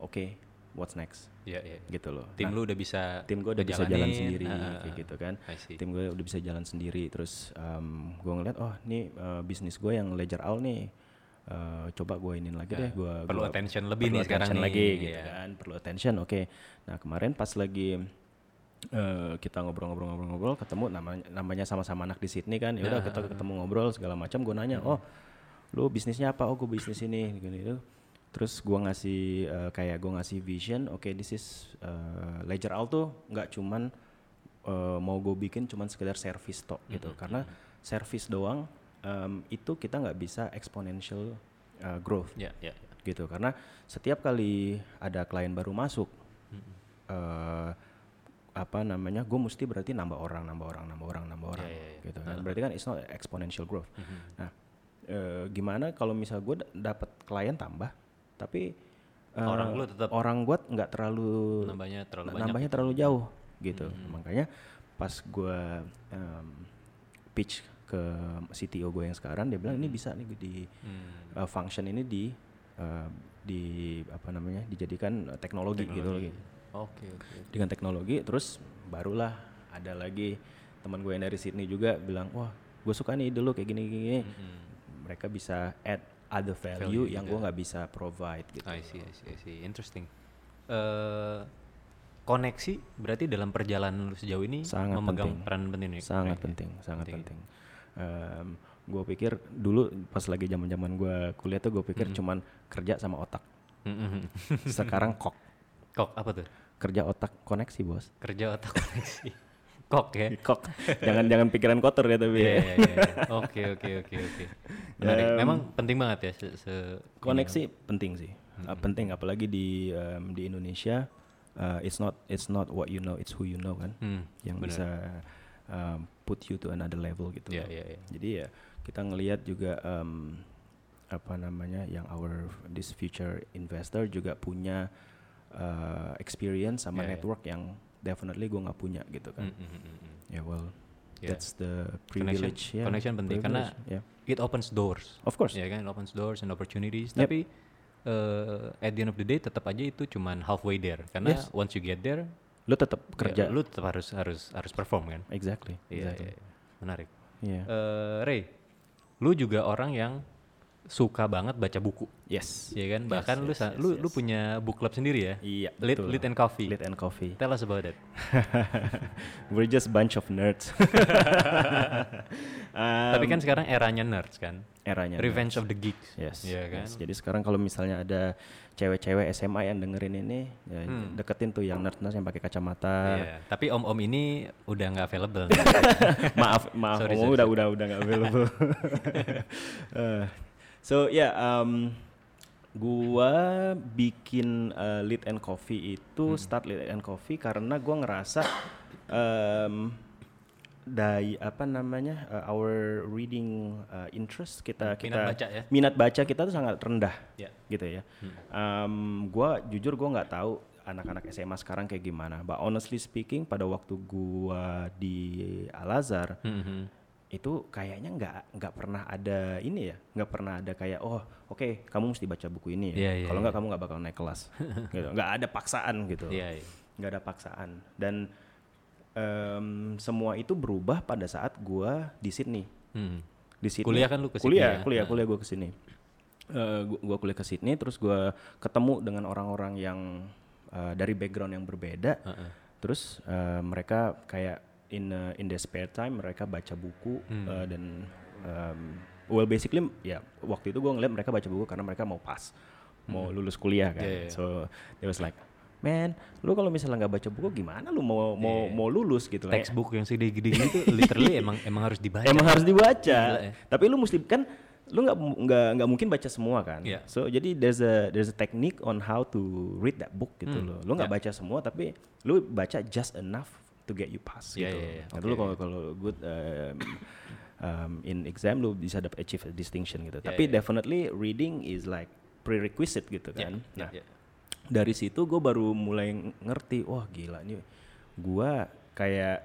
Speaker 2: oke, what's next?
Speaker 1: Iya, iya.
Speaker 2: Gitu loh.
Speaker 1: Tim
Speaker 2: Nah,
Speaker 1: lu udah bisa
Speaker 2: tim gue udah bisa jalan
Speaker 1: jalanin,
Speaker 2: sendiri
Speaker 1: ah, ah,
Speaker 2: kayak
Speaker 1: ah.
Speaker 2: gitu kan.
Speaker 1: I see.
Speaker 2: Tim gue udah bisa jalan sendiri terus um, gue ngeliat oh ini uh, bisnis gue yang Ledger Owl nih uh, coba gue inin lagi deh gue
Speaker 1: Ya, perlu attention lebih nih sekarang nih,
Speaker 2: lagi gitu
Speaker 1: iya.
Speaker 2: kan perlu attention oke nah kemarin pas lagi eh, kita ngobrol-ngobrol-ngobrol-ngobrol ketemu namanya namanya sama-sama anak di Sydney kan ya udah kita ketemu ngobrol segala macam gue nanya oh lu bisnisnya apa oh gue bisnis ini gini gitu terus gue ngasih eh, kayak gue ngasih vision oke this is eh, Ledger Al tuh nggak cuman eh, mau gue bikin cuman sekedar service tok gitu karena service doang em, itu kita nggak bisa exponential eh, growth
Speaker 1: Ya, ya.
Speaker 2: gitu karena setiap kali ada klien baru masuk eh, apa namanya gue mesti berarti nambah orang nambah orang nambah orang nambah orang
Speaker 1: ya, ya.
Speaker 2: gitu kan berarti kan it's not exponential growth nah eh, gimana kalau misal gue dapat klien tambah tapi eh,
Speaker 1: Orang lu tetap-
Speaker 2: orang gue nggak terlalu
Speaker 1: Nambahnya terlalu
Speaker 2: Nah,
Speaker 1: banyak.
Speaker 2: nambahnya terlalu jauh gitu makanya pas gue pitch ke CTO gue yang sekarang dia bilang ini bisa nih di uh, function ini di uh, di apa namanya dijadikan uh, teknologi, gitu lagi
Speaker 1: Oke, oke.
Speaker 2: dengan teknologi terus barulah ada lagi teman gue yang dari Sydney juga bilang wah gue suka nih dulu kayak gini gini, gini." mereka bisa add other value, yang gue nggak bisa provide gitu
Speaker 1: I see, I see, I see. Interesting. Eh koneksi berarti dalam perjalanan lu sejauh ini
Speaker 2: Sangat
Speaker 1: memegang
Speaker 2: penting.
Speaker 1: peran penting ya?
Speaker 2: sangat penting sangat penting, gue pikir dulu pas lagi zaman zaman gue kuliah tuh gue pikir cuman kerja sama otak
Speaker 1: Mm-mm.
Speaker 2: sekarang kok
Speaker 1: Mm-hmm. *laughs* Kok apa tuh?
Speaker 2: kerja otak koneksi bos
Speaker 1: Kerja otak koneksi. *laughs* Kok
Speaker 2: *laughs*
Speaker 1: ya.
Speaker 2: Kok. jangan jangan pikiran kotor ya tapi.
Speaker 1: Iya,
Speaker 2: ya.
Speaker 1: iya, iya. Oke, oke, oke, oke. Menarik. Memang penting banget ya se, se-
Speaker 2: Koneksi
Speaker 1: Iya.
Speaker 2: penting sih.
Speaker 1: Hmm.
Speaker 2: Uh, penting apalagi di um, di Indonesia uh, it's not it's not what you know, it's who you know kan.
Speaker 1: Hmm,
Speaker 2: Yang bisa um, put you to another level gitu.
Speaker 1: Iya,
Speaker 2: loh.
Speaker 1: iya, iya.
Speaker 2: Jadi ya kita ngelihat juga em, apa namanya yang our this future investor juga punya eh, experience
Speaker 1: Iya,
Speaker 2: sama
Speaker 1: iya.
Speaker 2: network yang definitely gue nggak punya gitu kan.
Speaker 1: Mm, mm, mm, mm, mm.
Speaker 2: Ya well,
Speaker 1: Yeah.
Speaker 2: that's the
Speaker 1: Iya. Connection-
Speaker 2: privilege. ya.
Speaker 1: connection penting, karena-
Speaker 2: Privilege, ya. yeah.
Speaker 1: It opens doors.
Speaker 2: of course.
Speaker 1: Ya kan, it opens doors and opportunities.
Speaker 2: Yep.
Speaker 1: Tapi eh, at the end of the day tetap aja itu cuman halfway there. Karena
Speaker 2: Yes.
Speaker 1: once you get there,
Speaker 2: Lu tetap
Speaker 1: ya
Speaker 2: kerja.
Speaker 1: lu tetap harus harus harus perform kan.
Speaker 2: Exactly.
Speaker 1: Iya,
Speaker 2: exactly. Iya.
Speaker 1: iya, iya. menarik.
Speaker 2: Yeah.
Speaker 1: Eh, Ray, lu juga orang yang suka banget baca buku,
Speaker 2: yes.
Speaker 1: ya kan? Bahkan
Speaker 2: Yes,
Speaker 1: lu
Speaker 2: yes,
Speaker 1: sa-
Speaker 2: yes,
Speaker 1: lu lu
Speaker 2: yes.
Speaker 1: punya book club sendiri ya?
Speaker 2: Iya.
Speaker 1: Lit
Speaker 2: betul.
Speaker 1: Lit and Coffee.
Speaker 2: Lit and
Speaker 1: *laughs*
Speaker 2: coffee. *laughs*
Speaker 1: Tell us about that.
Speaker 2: We're just bunch of nerds. *laughs* Um,
Speaker 1: Tapi kan sekarang eranya nerds kan?
Speaker 2: eranya.
Speaker 1: Revenge of the Geeks.
Speaker 2: Yes.
Speaker 1: Iya kan?
Speaker 2: yes. Jadi sekarang kalau misalnya ada cewek-cewek SMA yang dengerin ini, ya deketin tuh yang nerd-nerd yang pakai kacamata.
Speaker 1: Hmm. Iya, Tapi om-om ini udah nggak available.
Speaker 2: *laughs* maaf, maaf,
Speaker 1: Sorry,
Speaker 2: ngomong
Speaker 1: sorry,
Speaker 2: udah udah udah nggak
Speaker 1: *laughs*
Speaker 2: available. *laughs* Eh, so ya, um, gua bikin eh, Lead and Coffee
Speaker 1: Hmm.
Speaker 2: itu start Lead and Coffee karena gua ngerasa em, dari apa namanya eh, our reading eh, interest kita
Speaker 1: Minat
Speaker 2: kita
Speaker 1: baca ya?
Speaker 2: minat baca kita tuh sangat rendah
Speaker 1: Ya.
Speaker 2: gitu ya. Em, gua jujur gua nggak tahu anak-anak SMA sekarang kayak gimana. But honestly speaking, pada waktu gua di Al Azhar
Speaker 1: Mhm.
Speaker 2: itu kayaknya nggak nggak pernah ada ini ya, nggak pernah ada kayak oh oke kamu mesti baca buku ini ya.
Speaker 1: Iya, iya,
Speaker 2: Kalau nggak kamu nggak bakal naik
Speaker 1: *laughs*
Speaker 2: kelas. gitu. Nggak ada paksaan gitu.
Speaker 1: Iya. iya.
Speaker 2: Nggak ada paksaan. Dan em, semua itu berubah pada saat gua di Sydney
Speaker 1: Mhm.
Speaker 2: di Sydney.
Speaker 1: Kuliah kan lu ke Sydney
Speaker 2: kuliah,
Speaker 1: ya?
Speaker 2: kuliah, kuliah gue ke sini. Eh, gua, gua kuliah ke Sydney, terus gua ketemu dengan orang-orang yang eh, dari background yang berbeda. Terus eh, mereka kayak in eh, in their spare time mereka baca buku
Speaker 1: Hmm.
Speaker 2: eh, dan em, well basically ya waktu itu gua ngeliat mereka baca buku karena mereka mau pas mau lulus kuliah kan.
Speaker 1: Hmm. Yeah, yeah.
Speaker 2: So they was like, man, lu kalau misalnya nggak baca buku gimana lu mau mau mau lulus gitu? Eh,
Speaker 1: Textbook yang segede-gede gitu literally
Speaker 2: *laughs*
Speaker 1: emang emang harus dibaca.
Speaker 2: Emang harus dibaca.
Speaker 1: Gila ya.
Speaker 2: Tapi lu mesti kan lu nggak mu- nggak nggak mungkin baca semua kan.
Speaker 1: Iya.
Speaker 2: So jadi there's a there's a technique on how to read that book gitu
Speaker 1: Hmm.
Speaker 2: loh. Lu nggak
Speaker 1: Iya.
Speaker 2: baca semua tapi lu baca just enough to get you
Speaker 1: Iya,
Speaker 2: pass gitu.
Speaker 1: iya, iya.
Speaker 2: Nah, dulu kalau kalau good um, um, in exam lu bisa dapat achieve a distinction
Speaker 1: Iya,
Speaker 2: gitu. tapi definitely reading is like prerequisite gitu
Speaker 1: Iya,
Speaker 2: kan.
Speaker 1: iya,
Speaker 2: Nah,
Speaker 1: iya.
Speaker 2: dari situ gue baru mulai ngerti wah gila nih gue kayak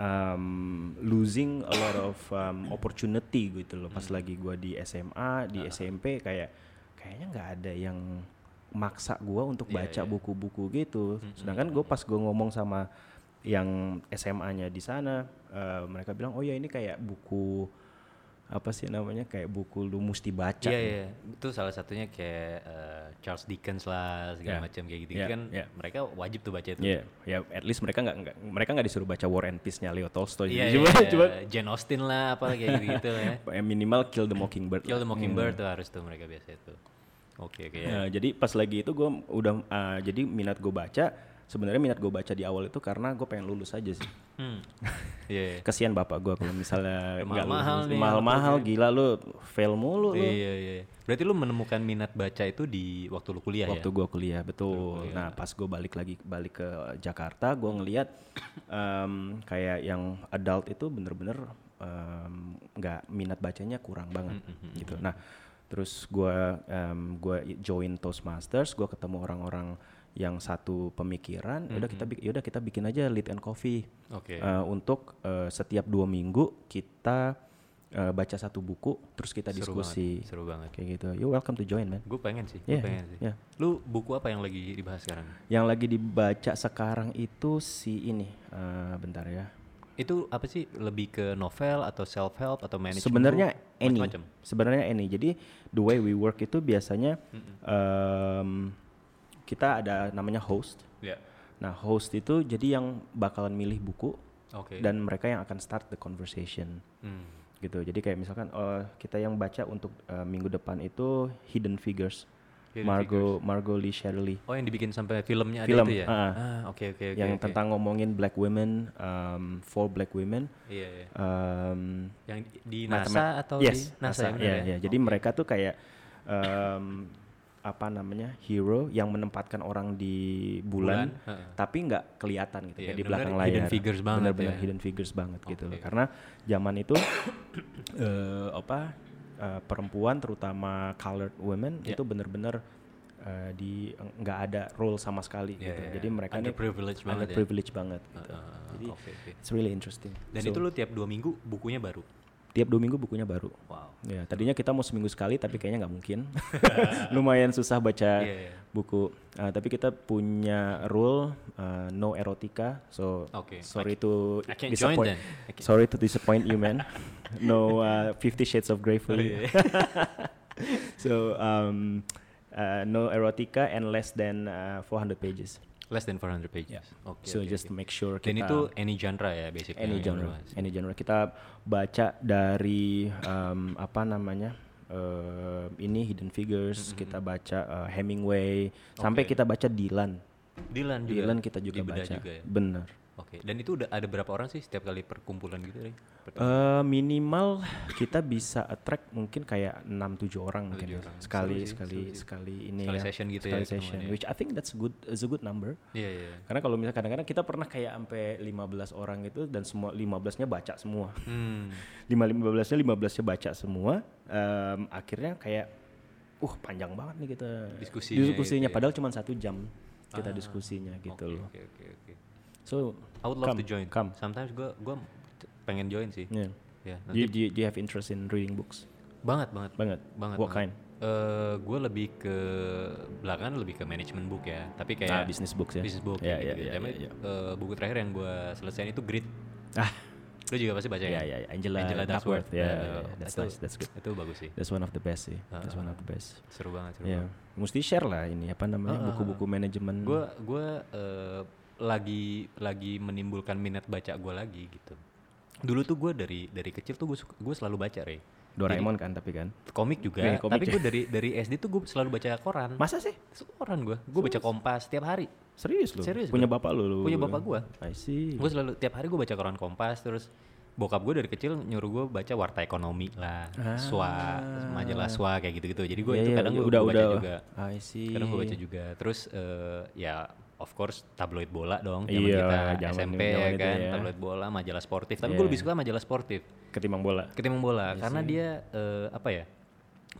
Speaker 2: um, losing a lot of um, opportunity gitu loh pas
Speaker 1: Hmm.
Speaker 2: lagi gue di SMA di SMP kayak kayaknya nggak ada yang maksa gue untuk
Speaker 1: Iya,
Speaker 2: baca buku-buku gitu
Speaker 1: Hmm,
Speaker 2: sedangkan gue pas gue ngomong sama yang SMA-nya di sana eh, mereka bilang oh ya ini kayak buku apa sih namanya kayak buku lu mesti baca
Speaker 1: Iya iya, itu salah satunya kayak eh, Charles Dickens lah segala
Speaker 2: Yeah.
Speaker 1: macam kayak gitu
Speaker 2: Yeah,
Speaker 1: kan.
Speaker 2: yeah.
Speaker 1: Mereka wajib tuh baca itu.
Speaker 2: Ya, ya at least mereka nggak nggak- mereka nggak disuruh baca War and Peace-nya Leo Tolstoy.
Speaker 1: Iya,
Speaker 2: cuma
Speaker 1: iya,
Speaker 2: cuma
Speaker 1: iya. Jane Austen lah apa kayak gitu, gitu ya.
Speaker 2: eh, minimal Kill the Mockingbird.
Speaker 1: Kill
Speaker 2: lah.
Speaker 1: the Mockingbird
Speaker 2: Hmm.
Speaker 1: tuh harus tuh mereka biasa itu. Oke oke. ya.
Speaker 2: Ya, jadi pas lagi itu gue udah ah, jadi minat gue baca sebenarnya minat gue baca di awal itu karena gue pengen lulus aja sih.
Speaker 1: Hmm. Iya.
Speaker 2: *laughs*
Speaker 1: iya.
Speaker 2: Kasihan bapak gue kalau misalnya nggak lulus.
Speaker 1: Mahal-mahal nih,
Speaker 2: mahal-mahal gila lu fail mulu lu.
Speaker 1: Iya iya. Berarti lu menemukan minat baca itu di waktu lu kuliah
Speaker 2: waktu
Speaker 1: ya?
Speaker 2: gue kuliah betul. Nah pas gue balik lagi balik ke Jakarta, gue ngelihat em, kayak yang adult itu bener-bener em, nggak minat bacanya kurang banget
Speaker 1: Mm-hmm,
Speaker 2: gitu. Nah terus gue em, gua i- join Toastmasters, gue ketemu orang-orang yang satu pemikiran, yaudah kita bik- yaudah kita bikin aja lead and coffee
Speaker 1: Mm-hmm. Oke.
Speaker 2: Eh, untuk eh, setiap dua minggu kita eh, baca satu buku, terus kita
Speaker 1: Seru banget,
Speaker 2: diskusi
Speaker 1: Seru banget.
Speaker 2: kayak gitu. You welcome to join man.
Speaker 1: Gue pengen sih.
Speaker 2: Iya,
Speaker 1: Gue pengen sih.
Speaker 2: iya.
Speaker 1: Lu buku apa yang lagi dibahas sekarang?
Speaker 2: Yang lagi dibaca sekarang itu si ini, eh, bentar ya.
Speaker 1: Itu apa sih? Lebih ke novel atau self help atau management?
Speaker 2: Sebenarnya
Speaker 1: book?
Speaker 2: any,
Speaker 1: Macem-macem.
Speaker 2: sebenarnya any. Jadi the way we work itu biasanya em, kita ada namanya host.
Speaker 1: Iya.
Speaker 2: Nah host itu jadi yang bakalan milih buku
Speaker 1: Oke.
Speaker 2: dan mereka yang akan start the conversation
Speaker 1: Hmm.
Speaker 2: gitu. Jadi kayak misalkan eh, kita yang baca untuk eh, minggu depan itu Hidden Figures
Speaker 1: Hidden
Speaker 2: Margot Margot Lee Shelley
Speaker 1: Oh yang dibikin sampai filmnya ada
Speaker 2: Film,
Speaker 1: itu ya?
Speaker 2: ah.
Speaker 1: Ah, oke oke oke.
Speaker 2: yang
Speaker 1: oke.
Speaker 2: tentang ngomongin black women um, for black women
Speaker 1: Iya iya.
Speaker 2: um,
Speaker 1: Yang di- di
Speaker 2: Matem-
Speaker 1: NASA atau
Speaker 2: yes,
Speaker 1: di NASA, ya?
Speaker 2: NASA,
Speaker 1: benar
Speaker 2: iya,
Speaker 1: ya?
Speaker 2: iya. Jadi mereka tuh kayak em, apa namanya hero yang menempatkan orang di bulan,
Speaker 1: Bulan, heeh.
Speaker 2: tapi nggak kelihatan gitu
Speaker 1: Iya,
Speaker 2: kayak di
Speaker 1: benar-benar
Speaker 2: belakang layar.
Speaker 1: hidden figures banget
Speaker 2: Benar-benar
Speaker 1: ya.
Speaker 2: hidden figures banget gitu loh.
Speaker 1: Oke.
Speaker 2: Karena zaman itu *coughs* eh, apa eh, perempuan terutama colored women
Speaker 1: Iya.
Speaker 2: itu benar-benar eh, di nggak ada role sama sekali
Speaker 1: Iya,
Speaker 2: gitu.
Speaker 1: iya,
Speaker 2: Jadi
Speaker 1: iya.
Speaker 2: mereka ini
Speaker 1: Underprivileged banget ya.
Speaker 2: underprivileged banget gitu.
Speaker 1: Ah, ah,
Speaker 2: Jadi
Speaker 1: oke, oke.
Speaker 2: it's really interesting.
Speaker 1: Dan
Speaker 2: So,
Speaker 1: itu lu tiap dua minggu bukunya baru.
Speaker 2: tiap dua minggu bukunya baru.
Speaker 1: Wow.
Speaker 2: Ya, tadinya kita mau seminggu sekali tapi kayaknya nggak
Speaker 1: *laughs*
Speaker 2: mungkin. *laughs* Lumayan susah baca
Speaker 1: Iya, iya.
Speaker 2: buku. Ah, tapi kita punya rule ah, no erotika. So
Speaker 1: Oke.
Speaker 2: sorry to
Speaker 1: I can't join then.
Speaker 2: disappoint.
Speaker 1: I can't-
Speaker 2: Sorry to disappoint you man. *laughs* no ah, Fifty Shades of Grey
Speaker 1: Oh,
Speaker 2: for you.
Speaker 1: iya.
Speaker 2: *laughs* so um, ah, no erotika and less than ah, 400 pages.
Speaker 1: Less than 400 pages.
Speaker 2: Yeah.
Speaker 1: Oke.
Speaker 2: so
Speaker 1: oke,
Speaker 2: just
Speaker 1: oke.
Speaker 2: make sure
Speaker 1: Dan
Speaker 2: kita
Speaker 1: itu any genre ya basically.
Speaker 2: any
Speaker 1: yang lu
Speaker 2: genre
Speaker 1: bahas.
Speaker 2: any genre kita baca dari um, apa namanya eh, ini Hidden Figures kita baca eh, Hemingway
Speaker 1: Mm-hmm,
Speaker 2: sampai
Speaker 1: Oke.
Speaker 2: kita baca Dylan
Speaker 1: Dylan juga.
Speaker 2: Dylan kita juga
Speaker 1: dibedah
Speaker 2: baca
Speaker 1: juga ya.
Speaker 2: bener
Speaker 1: Oke. Dan itu udah ada berapa orang sih setiap kali perkumpulan gitu, Ray? Per-
Speaker 2: Eh, minimal kita bisa attract mungkin kayak 6-7 orang mungkin
Speaker 1: Tujuh
Speaker 2: ya.
Speaker 1: orang. Seru
Speaker 2: sekali
Speaker 1: sih,
Speaker 2: sekali
Speaker 1: seru sih.
Speaker 2: sekali ini
Speaker 1: Sekali
Speaker 2: ya
Speaker 1: session gitu ya
Speaker 2: sekali
Speaker 1: ketemuan
Speaker 2: session
Speaker 1: ya.
Speaker 2: which I think that's good is a good number
Speaker 1: Iya iya. iya.
Speaker 2: karena kalau misalnya kadang-kadang kita pernah kayak sampai 15 orang itu dan semua 15-nya baca semua
Speaker 1: Hmm.
Speaker 2: lima lima belasnya lima belasnya baca semua Em, akhirnya kayak uh panjang banget nih kita
Speaker 1: Diskusinya
Speaker 2: diskusinya
Speaker 1: gitu ya. Ah,
Speaker 2: padahal cuma satu jam kita diskusinya gitu
Speaker 1: Oke,
Speaker 2: loh
Speaker 1: Oke oke oke.
Speaker 2: so
Speaker 1: I would love
Speaker 2: come,
Speaker 1: to join.
Speaker 2: come
Speaker 1: Sometimes gua gua t- pengen join sih.
Speaker 2: yeah.
Speaker 1: Ya,
Speaker 2: do, you, do you- do you have interest in reading books
Speaker 1: banget banget
Speaker 2: banget
Speaker 1: banget.
Speaker 2: what
Speaker 1: banget.
Speaker 2: kind
Speaker 1: Eh, gue lebih ke belakangan lebih ke management book ya, tapi
Speaker 2: ah
Speaker 1: kayak
Speaker 2: business books ya
Speaker 1: business book. gitu
Speaker 2: ya
Speaker 1: kayak
Speaker 2: ya
Speaker 1: gitu-gitu.
Speaker 2: ya
Speaker 1: Tapi,
Speaker 2: ya, ya.
Speaker 1: eh, buku terakhir yang gue selesaiin itu Grit.
Speaker 2: ah
Speaker 1: Lu juga pasti baca
Speaker 2: ya
Speaker 1: ya?
Speaker 2: ya ya. Angela, Duckworth ya
Speaker 1: Nah,
Speaker 2: ya, ya. that's
Speaker 1: itu,
Speaker 2: nice that's good
Speaker 1: Itu bagus sih.
Speaker 2: that's one of the best sih
Speaker 1: Ah.
Speaker 2: that's one of the best
Speaker 1: Seru banget, seru
Speaker 2: ya
Speaker 1: banget.
Speaker 2: mesti share lah ini apa namanya buku-buku manajemen
Speaker 1: Gue Ah. gua, eh, lagi lagi menimbulkan minat baca gue lagi gitu. Dulu tuh gue dari dari kecil tuh gue selalu baca, Rey.
Speaker 2: Doraemon kan tapi kan
Speaker 1: Komik juga,
Speaker 2: Iya, komik
Speaker 1: tapi
Speaker 2: ya.
Speaker 1: gue dari dari SD tuh gue selalu baca koran.
Speaker 2: masa sih
Speaker 1: Koran gue, gue baca Kompas tiap hari.
Speaker 2: Serius lu?
Speaker 1: Serius
Speaker 2: Punya
Speaker 1: gua.
Speaker 2: bapak lu? lu?
Speaker 1: Punya bapak gua.
Speaker 2: I see.
Speaker 1: Gue selalu tiap hari gue baca koran Kompas terus bokap gue dari kecil nyuruh gue baca warta ekonomi lah, swa, majalah swa kayak gitu-gitu. Jadi gue
Speaker 2: Ah. Iya,
Speaker 1: itu
Speaker 2: iya,
Speaker 1: kadang
Speaker 2: iya,
Speaker 1: gue
Speaker 2: udah
Speaker 1: baca
Speaker 2: udah.
Speaker 1: juga.
Speaker 2: I see.
Speaker 1: Kadang gue baca juga. Terus eh, ya of course tabloid bola dong zaman
Speaker 2: Iya,
Speaker 1: kita
Speaker 2: zaman-
Speaker 1: SMP
Speaker 2: zaman
Speaker 1: ya
Speaker 2: itu
Speaker 1: kan,
Speaker 2: ya.
Speaker 1: tabloid bola, majalah sportif. Tapi
Speaker 2: Iya.
Speaker 1: gue lebih suka majalah sportif
Speaker 2: Ketimbang bola.
Speaker 1: ketimbang bola
Speaker 2: Iya
Speaker 1: karena dia eh, apa ya?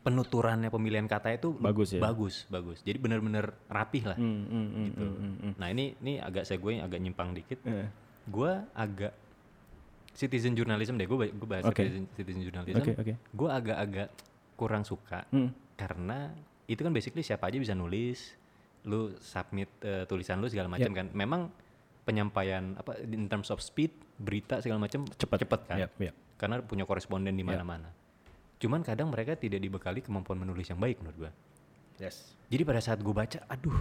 Speaker 1: penuturannya pemilihan kata itu
Speaker 2: Bagus ya?
Speaker 1: bagus bagus jadi benar-benar rapih lah
Speaker 2: Hmm, hmm, hmm,
Speaker 1: gitu.
Speaker 2: hmm, hmm, hmm.
Speaker 1: Nah ini ini agak saya gue agak nyimpang dikit.
Speaker 2: Eh,
Speaker 1: Gue agak citizen journalism deh. Gue gue bahas
Speaker 2: Oke.
Speaker 1: citizen, citizen journalism.
Speaker 2: Oke, oke.
Speaker 1: Gue agak-agak kurang suka
Speaker 2: Hmm.
Speaker 1: karena itu kan basically siapa aja bisa nulis. Lu submit eh, tulisan lu segala
Speaker 2: Iya.
Speaker 1: macam kan. Memang penyampaian apa in terms of speed berita segala macam cepat cepat kan.
Speaker 2: Yap, yap.
Speaker 1: Karena punya koresponden di
Speaker 2: Iya.
Speaker 1: mana-mana. Cuman kadang mereka tidak dibekali kemampuan menulis yang baik menurut gue.
Speaker 2: Yes.
Speaker 1: Jadi pada saat gue baca, aduh,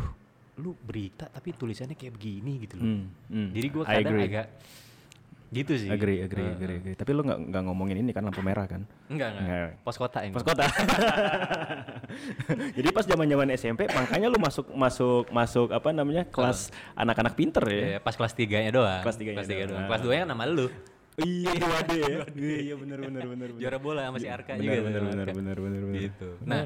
Speaker 1: lu berita tapi tulisannya kayak begini gitu loh.
Speaker 2: Hmm, hmm.
Speaker 1: Jadi gue
Speaker 2: I
Speaker 1: kadang
Speaker 2: agree.
Speaker 1: agak gitu sih.
Speaker 2: Agree, agree,
Speaker 1: Eh,
Speaker 2: agree, agree. Tapi lu nggak nggak ngomongin ini kan lampu merah kan?
Speaker 1: Enggak, enggak.
Speaker 2: Enggak.
Speaker 1: Pos Hmm, kota ini.
Speaker 2: Pas kota. *laughs* Jadi pas zaman zaman SMP, makanya lu masuk masuk masuk apa namanya kelas anak-anak pinter ya?
Speaker 1: Iya, pas kelas 3-nya doang.
Speaker 2: Kelas tiganya
Speaker 1: kelas tiga
Speaker 2: doang. Ah.
Speaker 1: doang. Kelas 2-nya nama lu.
Speaker 2: Iya, dua D ya. Iya, iya, benar, benar, benar. benar.
Speaker 1: Juara bola sama si Arka
Speaker 2: Iya,
Speaker 1: juga. kan.
Speaker 2: Benar, benar,
Speaker 1: sama
Speaker 2: benar,
Speaker 1: Arka.
Speaker 2: benar, benar, benar.
Speaker 1: iya, Gitu. Nah,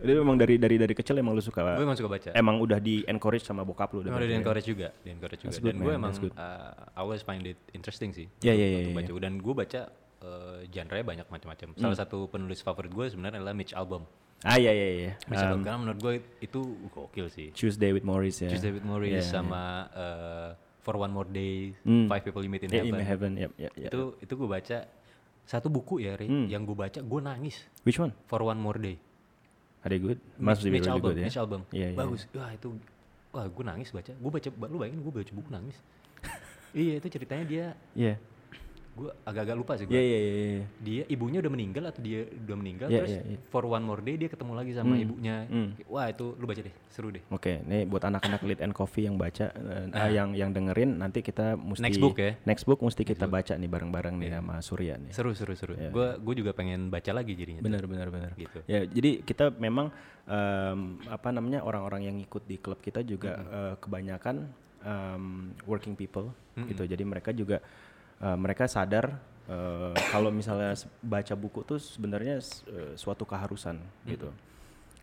Speaker 2: Jadi memang dari dari dari kecil emang lu suka
Speaker 1: gue emang suka baca.
Speaker 2: Ya. emang udah di encourage sama bokap lu udah
Speaker 1: Emang Oh, udah di
Speaker 2: berarti ya?
Speaker 1: encourage juga, di encourage juga.
Speaker 2: That's
Speaker 1: Dan
Speaker 2: good,
Speaker 1: gue
Speaker 2: man.
Speaker 1: emang
Speaker 2: That's good.
Speaker 1: uh, I always find it interesting sih.
Speaker 2: Iya, iya,
Speaker 1: untuk-
Speaker 2: iya,
Speaker 1: untuk
Speaker 2: iya,
Speaker 1: baca. Dan gue baca uh, genre banyak macam-macam. Salah
Speaker 2: Hmm.
Speaker 1: satu penulis favorit gue sebenarnya adalah Mitch Albom.
Speaker 2: ah iya iya iya
Speaker 1: Mitch Albom karena menurut gue itu gokil sih.
Speaker 2: Tuesday with Morris ya
Speaker 1: Tuesday with Morris
Speaker 2: Yeah,
Speaker 1: sama uh, For One More Day,
Speaker 2: Hmm.
Speaker 1: Five People You Meet in
Speaker 2: yeah.
Speaker 1: Heaven.
Speaker 2: Yeah, in heaven yep, yep, yep.
Speaker 1: Itu itu gue baca satu buku ya, Ri,
Speaker 2: Hmm.
Speaker 1: yang gue baca gue nangis
Speaker 2: which one
Speaker 1: For One More Day.
Speaker 2: are they good
Speaker 1: Mitch,
Speaker 2: must be
Speaker 1: Mitch
Speaker 2: really
Speaker 1: album,
Speaker 2: good ya
Speaker 1: Mitch album.
Speaker 2: Iya, iya,
Speaker 1: Bagus. Wah, itu wah gue nangis
Speaker 2: *laughs*
Speaker 1: baca. Gue baca lu bayangin gue baca buku nangis. iya, itu ceritanya dia
Speaker 2: iya
Speaker 1: gue Gue agak-agak lupa sih gue.
Speaker 2: Iya, iya, iya. iya.
Speaker 1: Dia ibunya udah meninggal atau dia udah meninggal
Speaker 2: Iya,
Speaker 1: terus
Speaker 2: iya, iya.
Speaker 1: for one more day dia ketemu lagi sama
Speaker 2: Hmm,
Speaker 1: ibunya.
Speaker 2: hmm. Iya.
Speaker 1: Wah, itu lu baca deh, seru deh.
Speaker 2: Oke, ini buat anak-anak Lead and Coffee yang baca, eh, eh, yang yang dengerin nanti kita mesti
Speaker 1: Ah. Next book ya? Iya.
Speaker 2: Next book mesti kita baca nih bareng-bareng nih sama Surya nih.
Speaker 1: Seru seru seru.
Speaker 2: Iya,
Speaker 1: Gue gue juga pengen baca lagi jadinya.
Speaker 2: Benar, benar, benar.
Speaker 1: Gitu.
Speaker 2: Ya, jadi kita memang em, apa namanya orang-orang yang ikut di klub kita juga eh, kebanyakan em, working people gitu. Jadi mereka juga eh, mereka sadar eh, kalau misalnya s- baca buku tuh sebenarnya s- eh, suatu keharusan gitu.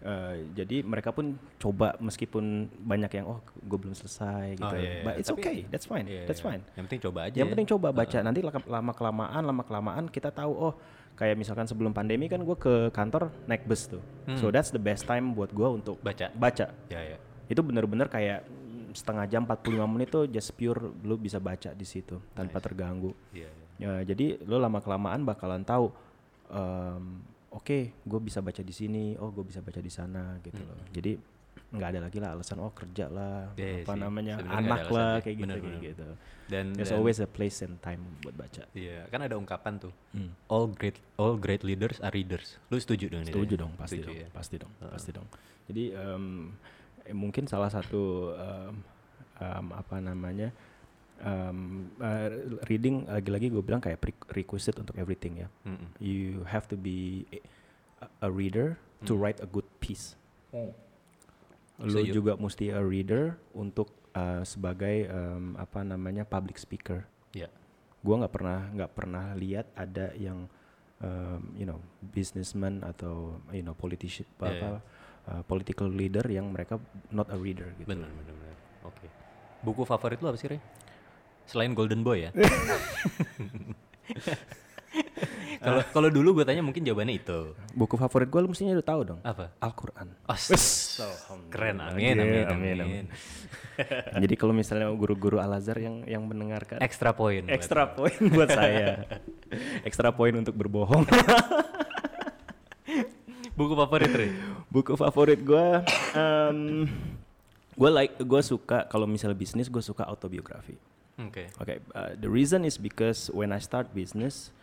Speaker 2: Eh, jadi mereka pun coba meskipun banyak yang oh gue belum selesai gitu.
Speaker 1: Oh, iya, iya.
Speaker 2: But it's
Speaker 1: Tapi-
Speaker 2: okay, that's fine,
Speaker 1: Iya, iya.
Speaker 2: that's fine.
Speaker 1: Yang penting coba aja.
Speaker 2: Yang penting coba baca. Nanti lama kelamaan, lama kelamaan kita tahu oh kayak misalkan sebelum pandemi kan gue ke kantor naik bus tuh. So that's the best time buat gue untuk
Speaker 1: Hmm. Baca.
Speaker 2: Baca.
Speaker 1: Ya ya.
Speaker 2: Itu bener-bener kayak mm, setengah jam 45 menit tuh just pure lu bisa baca di situ tanpa terganggu.
Speaker 1: Iya. iya.
Speaker 2: Ya, jadi lo lama kelamaan bakalan tahu em, oke gue bisa baca di sini oh gue bisa baca di sana gitu loh jadi nggak ada lagi lah alasan oh kerja lah
Speaker 1: Hmm. Iya
Speaker 2: apa
Speaker 1: sih,
Speaker 2: namanya
Speaker 1: sebenarnya nggak ada
Speaker 2: anak lah
Speaker 1: alasan sih.
Speaker 2: kayak gitu
Speaker 1: Bener,
Speaker 2: kayak
Speaker 1: bener.
Speaker 2: gitu
Speaker 1: Dan-
Speaker 2: there's
Speaker 1: dan-
Speaker 2: always a place and time buat baca
Speaker 1: Iya, kan ada ungkapan tuh.
Speaker 2: Hmm.
Speaker 1: All great all great leaders are readers. Lu setuju dong ini?
Speaker 2: setuju
Speaker 1: Dani?
Speaker 2: dong pasti
Speaker 1: Setuju
Speaker 2: dong
Speaker 1: ya.
Speaker 2: pasti dong pasti dong jadi em, eh, mungkin salah satu em, em, apa namanya em, eh, reading lagi-lagi gue bilang kayak pre- requisite untuk everything ya
Speaker 1: Mm-mm.
Speaker 2: you have to be a- a reader to
Speaker 1: Mm.
Speaker 2: write a good piece
Speaker 1: Oh.
Speaker 2: lo
Speaker 1: Setuju.
Speaker 2: juga mesti a reader untuk eh, sebagai em, apa namanya public speaker
Speaker 1: Iya.
Speaker 2: gue nggak pernah nggak pernah lihat ada yang um, you know businessman atau you know politician
Speaker 1: Yeah,
Speaker 2: apa uh, political leader yang mereka not a reader gitu.
Speaker 1: Benar benar benar. Oke. Buku favorit lu apa sih, Re? Selain Golden
Speaker 2: *laughs*
Speaker 1: Boy ya? Kalau kalau dulu gue tanya mungkin jawabannya itu.
Speaker 2: Buku favorit gue lu mestinya udah tahu dong.
Speaker 1: Apa?
Speaker 2: Al-Quran.
Speaker 1: As- keren amin amin
Speaker 2: Iya,
Speaker 1: amin.
Speaker 2: amin, Jadi kalau misalnya guru-guru Al-Azhar yang yang mendengarkan
Speaker 1: Extra point. buat-
Speaker 2: *laughs* extra poin buat saya. extra poin untuk berbohong. *laughs*
Speaker 1: Buku favorit Re?
Speaker 2: Buku favorit gue gue like gue suka kalau misalnya bisnis gue suka autobiografi.
Speaker 1: Oke.
Speaker 2: Oke, uh, the reason is because when I start business,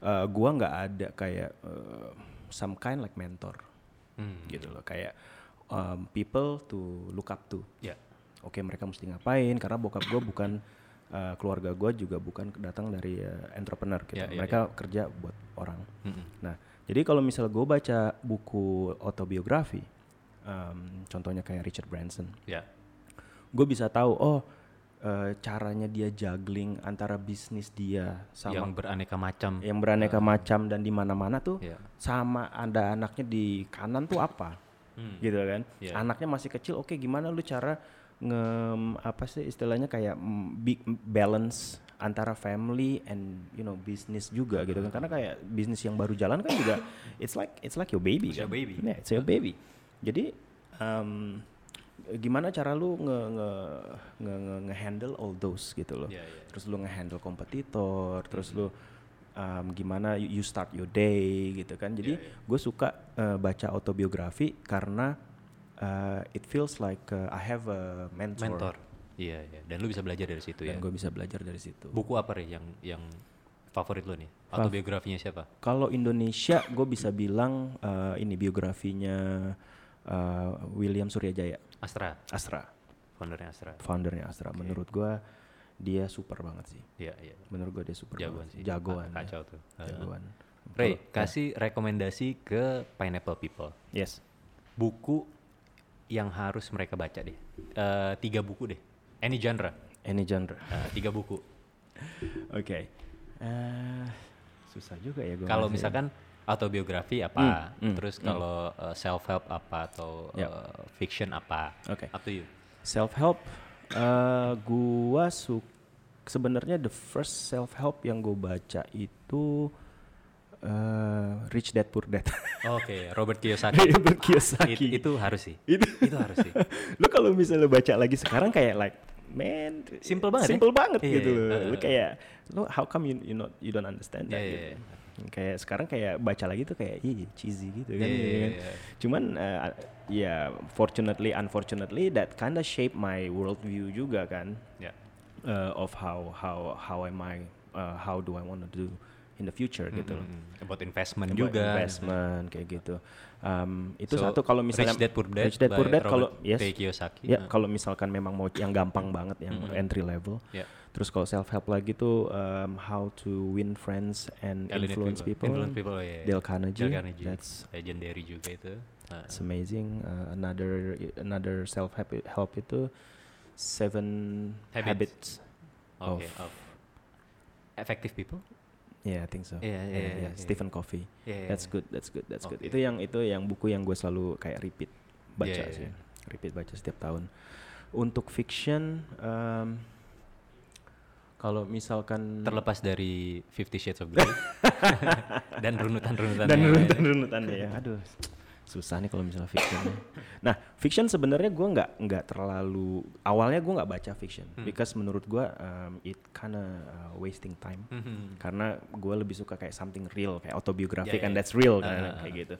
Speaker 2: uh, gua nggak ada kayak uh, some kind like mentor,
Speaker 1: Hmm.
Speaker 2: gitu loh. Kayak um, people to look up to.
Speaker 1: Ya.
Speaker 2: Oke, mereka mesti ngapain? Karena bokap gua bukan uh, keluarga gua juga bukan datang dari uh, entrepreneur. Gitu.
Speaker 1: Ya, Hmm. ya,
Speaker 2: mereka kerja buat orang.
Speaker 1: Mm-mm.
Speaker 2: Nah, jadi kalau misalnya gua baca buku autobiografi, um, contohnya kayak Richard Branson
Speaker 1: Ya.
Speaker 2: gue bisa tahu oh eh, caranya dia juggling antara bisnis dia
Speaker 1: Yang
Speaker 2: sama Iya, yang,
Speaker 1: beraneka macam. Eh.
Speaker 2: beraneka macam dan di mana-mana tuh
Speaker 1: Iya.
Speaker 2: sama ada anaknya di kanan tuh apa
Speaker 1: Hmm.
Speaker 2: gitu kan
Speaker 1: Iya.
Speaker 2: anaknya masih kecil oke gimana lu cara nge apa sih istilahnya kayak mm, big balance antara family and you know bisnis juga gitu
Speaker 1: Ah.
Speaker 2: kan karena kayak bisnis yang baru jalan kan
Speaker 1: *coughs*
Speaker 2: juga it's like it's like your baby
Speaker 1: It's your
Speaker 2: kan?
Speaker 1: baby. Ah.
Speaker 2: Yeah, it's your baby jadi em, gimana cara lu nge nge nge, nge- nge-handle all those gitu loh
Speaker 1: Iya, iya.
Speaker 2: terus lu nge-handle kompetitor, terus lu um, gimana you you start your day gitu kan. Jadi
Speaker 1: Iya,
Speaker 2: gue suka uh, baca autobiografi karena uh, it feels like uh, I have a mentor,
Speaker 1: Mentor. Iya, iya. Dan lu bisa belajar dari situ ya.
Speaker 2: dan gue bisa belajar dari situ.
Speaker 1: Buku apa Re yang yang favorit lu nih? Autobiografinya siapa?
Speaker 2: Kalau Indonesia gue bisa bilang uh, ini biografinya uh, William Suryajaya
Speaker 1: Astra,
Speaker 2: Astra,
Speaker 1: foundernya Astra.
Speaker 2: foundernya Astra. Menurut gue dia super banget sih.
Speaker 1: Iya, iya.
Speaker 2: Menurut gue dia super
Speaker 1: Jagoan
Speaker 2: banget.
Speaker 1: sih.
Speaker 2: Jagoan.
Speaker 1: Ka- Kacau tuh.
Speaker 2: ya. Jagoan.
Speaker 1: Re, kasih rekomendasi ke Pineapple People.
Speaker 2: Yes.
Speaker 1: Buku yang harus mereka baca deh. Eh, tiga buku deh. Any genre.
Speaker 2: Any genre.
Speaker 1: Eh, tiga buku.
Speaker 2: Oke. Eh, susah juga ya Hmm, gue.
Speaker 1: Kalau misalkan autobiografi apa, terus kalau self help apa atau
Speaker 2: Yap.
Speaker 1: eh, fiction apa.
Speaker 2: Ya. Oke.
Speaker 1: Up to you.
Speaker 2: self help, eh gua su sebenarnya the first self help yang gue baca itu eh Rich Dad Poor Dad. *laughs*
Speaker 1: Oke, Robert Kiyosaki.
Speaker 2: Robert
Speaker 1: It-
Speaker 2: Kiyosaki.
Speaker 1: itu harus sih. Itu, harus
Speaker 2: *laughs*
Speaker 1: sih.
Speaker 2: Lu kalau misalnya baca lagi sekarang kayak like man
Speaker 1: Simple banget ya?
Speaker 2: simple banget
Speaker 1: Iya,
Speaker 2: gitu
Speaker 1: iya,
Speaker 2: loh.
Speaker 1: eh,
Speaker 2: Lu
Speaker 1: eh.
Speaker 2: kayak lu how come you you not you don't understand that
Speaker 1: Iya, iya,
Speaker 2: gitu. Kayak sekarang kayak baca lagi tuh kayak ih cheesy gitu kan.
Speaker 1: Iya,
Speaker 2: gitu
Speaker 1: iya,
Speaker 2: kan.
Speaker 1: iya.
Speaker 2: Cuman eh, a- ya fortunately unfortunately that kinda shape my worldview juga kan
Speaker 1: Ya.
Speaker 2: uh, of how how how am I uh, how do I want to do in the future gitu loh.
Speaker 1: Mm-mm. About hmm, investment
Speaker 2: Buat
Speaker 1: Mm-hmm. juga. mm-hmm.
Speaker 2: investment kayak gitu. Um, itu
Speaker 1: So,
Speaker 2: satu kalau misalnya
Speaker 1: Rich Dad Poor Dad,
Speaker 2: Rich Dad Poor
Speaker 1: by
Speaker 2: Dad kalau
Speaker 1: Robert
Speaker 2: yes.
Speaker 1: T. Kiyosaki.
Speaker 2: Ya,
Speaker 1: Nah,
Speaker 2: kalau misalkan memang mau yang gampang banget yang entry level.
Speaker 1: ya.
Speaker 2: Terus kalau self help lagi tuh um, how to win friends and
Speaker 1: Alien
Speaker 2: influence people.
Speaker 1: Influence people, oh, ya, ya.
Speaker 2: Dale Carnegie.
Speaker 1: Dale Carnegie. Eh,
Speaker 2: That's
Speaker 1: legendary juga itu. Nah,
Speaker 2: it's amazing. Uh, another another self help help itu seven
Speaker 1: Habits.
Speaker 2: habits.
Speaker 1: Oke, of effective people.
Speaker 2: Yeah, I think so.
Speaker 1: Yeah, yeah,
Speaker 2: Yeah,
Speaker 1: yeah,
Speaker 2: yeah.
Speaker 1: yeah.
Speaker 2: Stephen Covey.
Speaker 1: Yeah,
Speaker 2: That's
Speaker 1: yeah.
Speaker 2: good. That's good. That's good.
Speaker 1: Oke.
Speaker 2: Itu yang itu yang buku yang gue selalu kayak repeat baca
Speaker 1: Yeah, yeah,
Speaker 2: sih.
Speaker 1: yeah.
Speaker 2: Repeat baca setiap tahun. Untuk fiction um, kalau misalkan
Speaker 1: Terlepas dari Fifty Shades of
Speaker 2: *laughs*
Speaker 1: Grey dan runutan-runutan.
Speaker 2: dan runutan-runutannya
Speaker 1: *laughs*
Speaker 2: ya. Aduh, susah nih kalau misalnya fiction. nah, fiction sebenarnya gue nggak nggak terlalu awalnya gue nggak baca fiction
Speaker 1: Hmm.
Speaker 2: because menurut gue um, it kinda uh, wasting time
Speaker 1: Hmm.
Speaker 2: karena gue lebih suka kayak something real kayak
Speaker 1: Ya,
Speaker 2: autobiographic
Speaker 1: ya,
Speaker 2: and
Speaker 1: ya.
Speaker 2: that's real
Speaker 1: Ah,
Speaker 2: kan,
Speaker 1: ah,
Speaker 2: kayak gitu.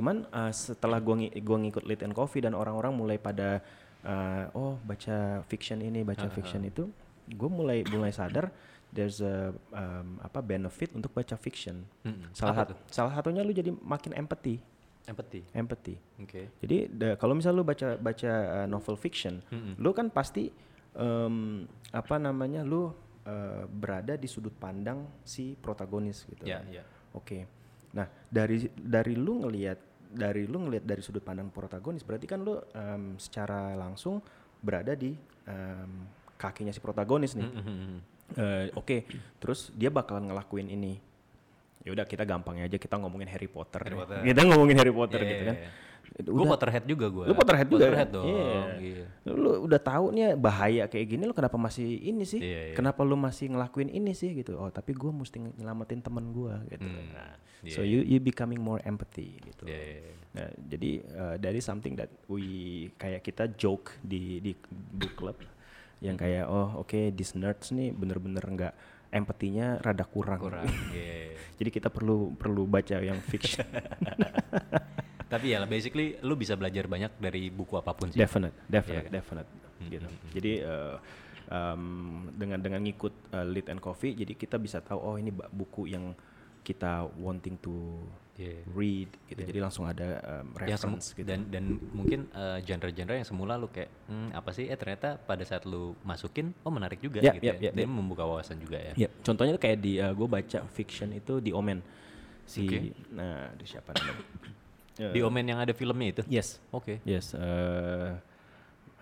Speaker 2: Cuman uh, setelah gue ngi gua ngikut Lit and Coffee dan orang-orang mulai pada uh, oh baca fiction ini baca fiction itu, gue mulai mulai sadar there's a um, apa benefit untuk baca fiction.
Speaker 1: Mm-mm.
Speaker 2: Salah
Speaker 1: Hmm. Apa
Speaker 2: satu salah satunya lu jadi makin empathy,
Speaker 1: Empathy.
Speaker 2: empathy.
Speaker 1: Oke.
Speaker 2: Jadi da- kalau misalnya lu baca baca uh, novel fiction, lu kan pasti em, apa namanya lu eh, berada di sudut pandang si protagonis gitu.
Speaker 1: Ya,
Speaker 2: kan.
Speaker 1: ya.
Speaker 2: Oke. Nah, dari dari lu ngelihat dari lu ngelihat dari sudut pandang protagonis berarti kan lu em, secara langsung berada di em, kakinya si protagonis nih.
Speaker 1: Mhm.
Speaker 2: Eh, Oke, terus dia bakalan ngelakuin ini. Ya udah kita gampangnya aja kita ngomongin Harry Potter.
Speaker 1: Harry
Speaker 2: deh.
Speaker 1: Potter.
Speaker 2: Kita ngomongin Harry Potter
Speaker 1: Iya,
Speaker 2: gitu
Speaker 1: iya,
Speaker 2: kan.
Speaker 1: iya. Gue
Speaker 2: Udah,
Speaker 1: Potterhead juga gue.
Speaker 2: Lu Potterhead juga
Speaker 1: Potterhead
Speaker 2: kan?
Speaker 1: dong.
Speaker 2: Iya.
Speaker 1: Iya.
Speaker 2: lu udah tahu nih ya, bahaya kayak gini lu kenapa masih ini sih?
Speaker 1: Iya, iya.
Speaker 2: Kenapa lu masih ngelakuin ini sih gitu? Oh, tapi gua mesti nyelamatin temen gua gitu.
Speaker 1: Hmm,
Speaker 2: Nah,
Speaker 1: iya,
Speaker 2: so you you becoming more empathy gitu.
Speaker 1: Iya, iya, iya.
Speaker 2: Nah, jadi uh, dari something that we kayak kita joke di di book club yang
Speaker 1: Hmm.
Speaker 2: kayak oh oke these nerds nih bener-bener nggak empatinya rada kurang.
Speaker 1: Kurang. Iya.
Speaker 2: Jadi kita perlu perlu baca yang
Speaker 1: *laughs*
Speaker 2: fiction.
Speaker 1: Tapi ya basically lu bisa belajar banyak dari buku apapun sih.
Speaker 2: definite, definite,
Speaker 1: kan?
Speaker 2: definite gitu. Jadi eh, em, dengan dengan ngikut eh, Lead and Coffee jadi kita bisa tahu oh ini ba- buku yang kita wanting to
Speaker 1: Iya.
Speaker 2: read gitu. Jadi langsung ada em,
Speaker 1: Yang semu-
Speaker 2: reference gitu.
Speaker 1: dan dan mungkin eh, genre-genre yang semula lu kayak "Hmm, apa sih eh ternyata pada saat lu masukin oh menarik juga
Speaker 2: Ya,
Speaker 1: gitu
Speaker 2: ya,
Speaker 1: ya.
Speaker 2: ya,
Speaker 1: Dan membuka wawasan juga ya.
Speaker 2: Ya, contohnya tuh kayak di gue baca fiction itu di Omen. Si
Speaker 1: Oke.
Speaker 2: nah, aduh, siapa namanya? Eh,
Speaker 1: Di Omen yang ada filmnya itu.
Speaker 2: Yes.
Speaker 1: Oke.
Speaker 2: Yes, eh,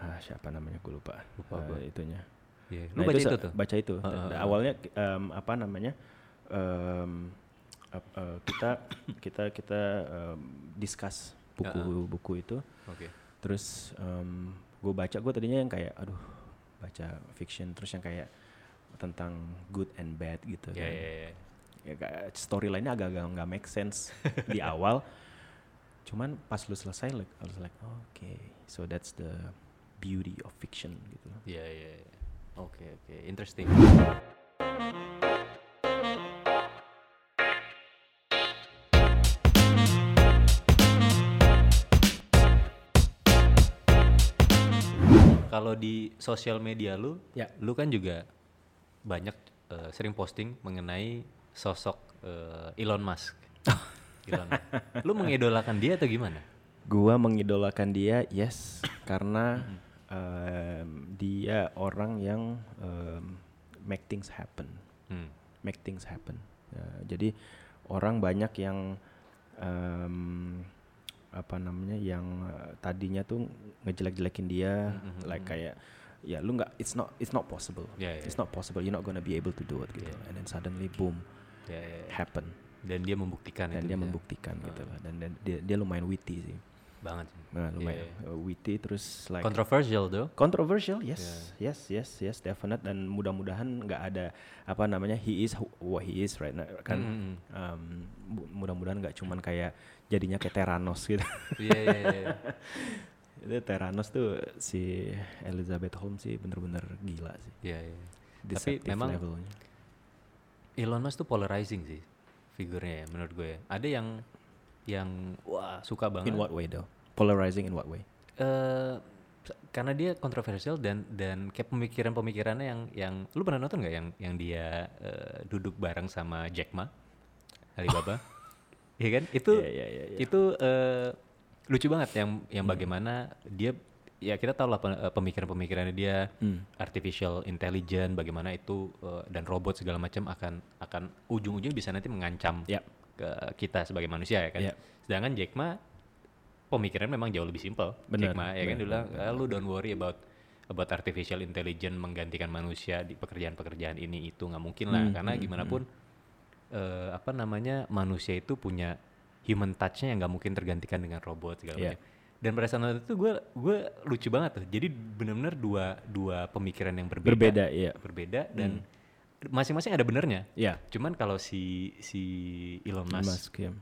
Speaker 2: ah, siapa namanya gue lupa.
Speaker 1: Lupa
Speaker 2: eh,
Speaker 1: gua.
Speaker 2: itunya.
Speaker 1: Iya. Lu
Speaker 2: Nah,
Speaker 1: baca itu,
Speaker 2: sa-
Speaker 1: tuh.
Speaker 2: Baca itu.
Speaker 1: Heeh,
Speaker 2: Dan Awalnya em, apa namanya? em, ap- eh, kita kita kita em, discuss buku-buku itu.
Speaker 1: Oke.
Speaker 2: Terus gue baca gue tadinya yang kayak aduh baca fiction terus yang kayak tentang good and bad gitu
Speaker 1: Ya
Speaker 2: kan.
Speaker 1: ya ya.
Speaker 2: Ya, kayak storyline-nya agak-agak nggak make sense *laughs* di awal. Cuman pas lu selesai like, I was like, okay, so that's the beauty of fiction gitu.
Speaker 1: Ya ya. ya. Oke oke. Interesting. Kalau di sosial media lu,
Speaker 2: Ya.
Speaker 1: lu kan juga banyak eh, sering posting mengenai sosok eh, Elon *laughs* Musk. Elon, Musk. lu mengidolakan dia atau gimana?
Speaker 2: Gua mengidolakan dia, yes, karena em, dia orang yang em, make things happen,
Speaker 1: Hmm.
Speaker 2: make things happen. Ya, jadi orang banyak yang em, apa namanya yang eh, tadinya tuh ngejelek-jelekin dia, like kayak ya lu nggak, it's not it's not possible,
Speaker 1: Ya, ya,
Speaker 2: it's not possible, you're not gonna be able to do it gitu, and then suddenly boom,
Speaker 1: Ya, ya, ya.
Speaker 2: happen,
Speaker 1: Dan dia membuktikan itu
Speaker 2: dan
Speaker 1: ya.
Speaker 2: dia
Speaker 1: bisa.
Speaker 2: membuktikan gitu lah, dan, dan dia, dia lumayan witty sih.
Speaker 1: banget. sih.
Speaker 2: Nah, lumayan
Speaker 1: Iya.
Speaker 2: uh, witty terus like
Speaker 1: Controversial tuh.
Speaker 2: controversial, yes, yes, yes, yes, definite dan mudah-mudahan nggak ada apa namanya he is who- what he is right now kan
Speaker 1: Mm-mm.
Speaker 2: um, mu- mudah-mudahan nggak cuman kayak jadinya kayak Teranos gitu.
Speaker 1: *laughs* Iya iya
Speaker 2: *laughs*
Speaker 1: iya.
Speaker 2: Itu Teranos tuh si Elizabeth Holmes sih bener-bener gila sih.
Speaker 1: Iya iya. Tapi
Speaker 2: Deceptive
Speaker 1: memang
Speaker 2: levelnya.
Speaker 1: Elon Musk tuh polarizing sih figurnya ya menurut gue ya. Ada yang yang wah suka banget.
Speaker 2: In what way though? Polarizing in what way?
Speaker 1: Eh, karena dia kontroversial dan dan kayak pemikiran-pemikirannya yang yang lu pernah nonton nggak yang yang dia eh, duduk bareng sama Jack Ma Alibaba iya kan itu
Speaker 2: Oh. Iya, iya, iya, Hmm. iya.
Speaker 1: itu eh, lucu banget yang yang bagaimana dia ya kita tahu lah pe- eh, pemikiran-pemikirannya dia
Speaker 2: Hmm.
Speaker 1: artificial intelligence bagaimana itu eh, dan robot segala macam akan akan ujung-ujung bisa nanti mengancam
Speaker 2: Yap.
Speaker 1: ke kita sebagai manusia ya kan
Speaker 2: Yap.
Speaker 1: sedangkan Jack Ma pemikiran memang jauh lebih simpel
Speaker 2: Benar,
Speaker 1: Jack Ma ya kan
Speaker 2: benar,
Speaker 1: dia bilang "Ah, lu don't worry about about artificial intelligence menggantikan manusia di pekerjaan-pekerjaan ini itu nggak mungkin
Speaker 2: Hmm,
Speaker 1: lah karena gimana pun eh, apa namanya manusia itu punya human touch-nya yang nggak mungkin tergantikan dengan robot segala
Speaker 2: Iya.
Speaker 1: macam dan pada saat nonton itu gue gue lucu banget tuh jadi benar-benar dua dua pemikiran yang berbeda
Speaker 2: Berbeda, iya. Hmm.
Speaker 1: berbeda dan masing-masing ada benernya
Speaker 2: Iya.
Speaker 1: cuman kalau si si Elon Musk,
Speaker 2: Mas Kim.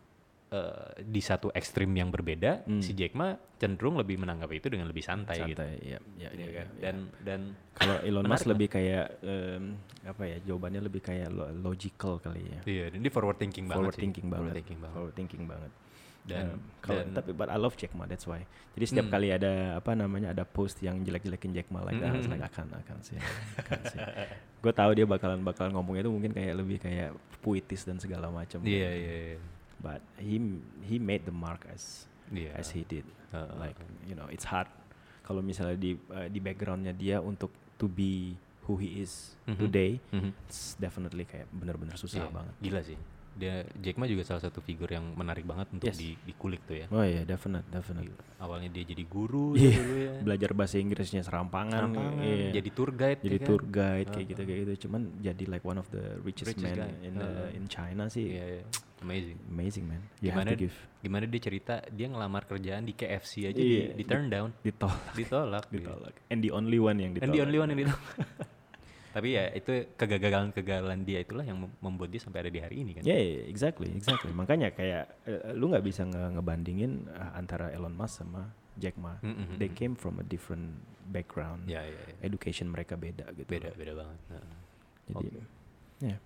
Speaker 1: eh, di satu ekstrim yang berbeda, si Jack Ma cenderung lebih menanggapi itu dengan lebih santai, gitu.
Speaker 2: Hmm. Santai, iya, iya,
Speaker 1: Iya
Speaker 2: iya,
Speaker 1: kan?
Speaker 2: iya.
Speaker 1: Dan dan
Speaker 2: Kalau Elon
Speaker 1: Menarik
Speaker 2: Musk lebih kayak em, apa ya? Jawabannya lebih kayak lo- logical kali ya.
Speaker 1: iya, dan dia forward thinking banget
Speaker 2: Forward
Speaker 1: sih.
Speaker 2: thinking banget.
Speaker 1: Forward thinking banget.
Speaker 2: Forward thinking banget.
Speaker 1: Dan
Speaker 2: Em, kalau
Speaker 1: dan- Hmm.
Speaker 2: tapi but I love Jack Ma, that's why. Jadi setiap kali ada apa namanya ada post yang jelek-jelekin Jack Ma like, that,
Speaker 1: Hmm.
Speaker 2: I was like akan akan sih. Akan sih. *laughs* Gue tahu dia bakalan bakalan ngomongnya itu mungkin kayak lebih kayak puitis dan segala macam.
Speaker 1: Iya, iya, iya.
Speaker 2: But he he made the mark as
Speaker 1: Iya.
Speaker 2: as he did.
Speaker 1: Uh,
Speaker 2: like you know it's hard kalau misalnya di eh, di backgroundnya dia untuk to be who he is
Speaker 1: Mhm.
Speaker 2: today,
Speaker 1: Mhm.
Speaker 2: it's definitely kayak benar-benar susah
Speaker 1: Iya,
Speaker 2: banget.
Speaker 1: Gila sih. Dia Jack Ma juga salah satu figur yang menarik banget untuk
Speaker 2: Yes.
Speaker 1: di dikulik tuh ya.
Speaker 2: Oh iya, definite, definite.
Speaker 1: Awalnya dia jadi guru ya
Speaker 2: Iya,
Speaker 1: dulu ya.
Speaker 2: belajar bahasa Inggrisnya serampangan,
Speaker 1: Serampangan,
Speaker 2: iya.
Speaker 1: jadi tour guide
Speaker 2: jadi
Speaker 1: ya kan?
Speaker 2: tour guide kayak
Speaker 1: Ah,
Speaker 2: gitu kayak gitu cuman jadi like one of the richest,
Speaker 1: Richest
Speaker 2: men
Speaker 1: guy.
Speaker 2: in the-
Speaker 1: Ah.
Speaker 2: in China sih
Speaker 1: Iya, iya. Amazing.
Speaker 2: amazing man you
Speaker 1: Gimana
Speaker 2: have to give
Speaker 1: gimana dia cerita dia ngelamar kerjaan di KFC aja
Speaker 2: Iya,
Speaker 1: di, di turn down,
Speaker 2: ditolak
Speaker 1: ditolak. dia.
Speaker 2: *laughs* ditolak and the only one yang ditolak
Speaker 1: And the only one yang itu. *laughs* Tapi ya itu kegagalan-kegagalan dia itulah yang mem- membuat dia sampai ada di hari ini kan.
Speaker 2: Ya, *laughs* yeah, exactly, exactly. Makanya kayak eh, lu nggak bisa nge- ngebandingin eh, antara Elon Musk sama Jack Ma.
Speaker 1: Mm, mm, mm,
Speaker 2: They
Speaker 1: mm.
Speaker 2: came from a different background.
Speaker 1: Ya, ya, ya.
Speaker 2: Education mereka beda gitu.
Speaker 1: Beda,
Speaker 2: loh.
Speaker 1: beda banget. Nah.
Speaker 2: Jadi, ya.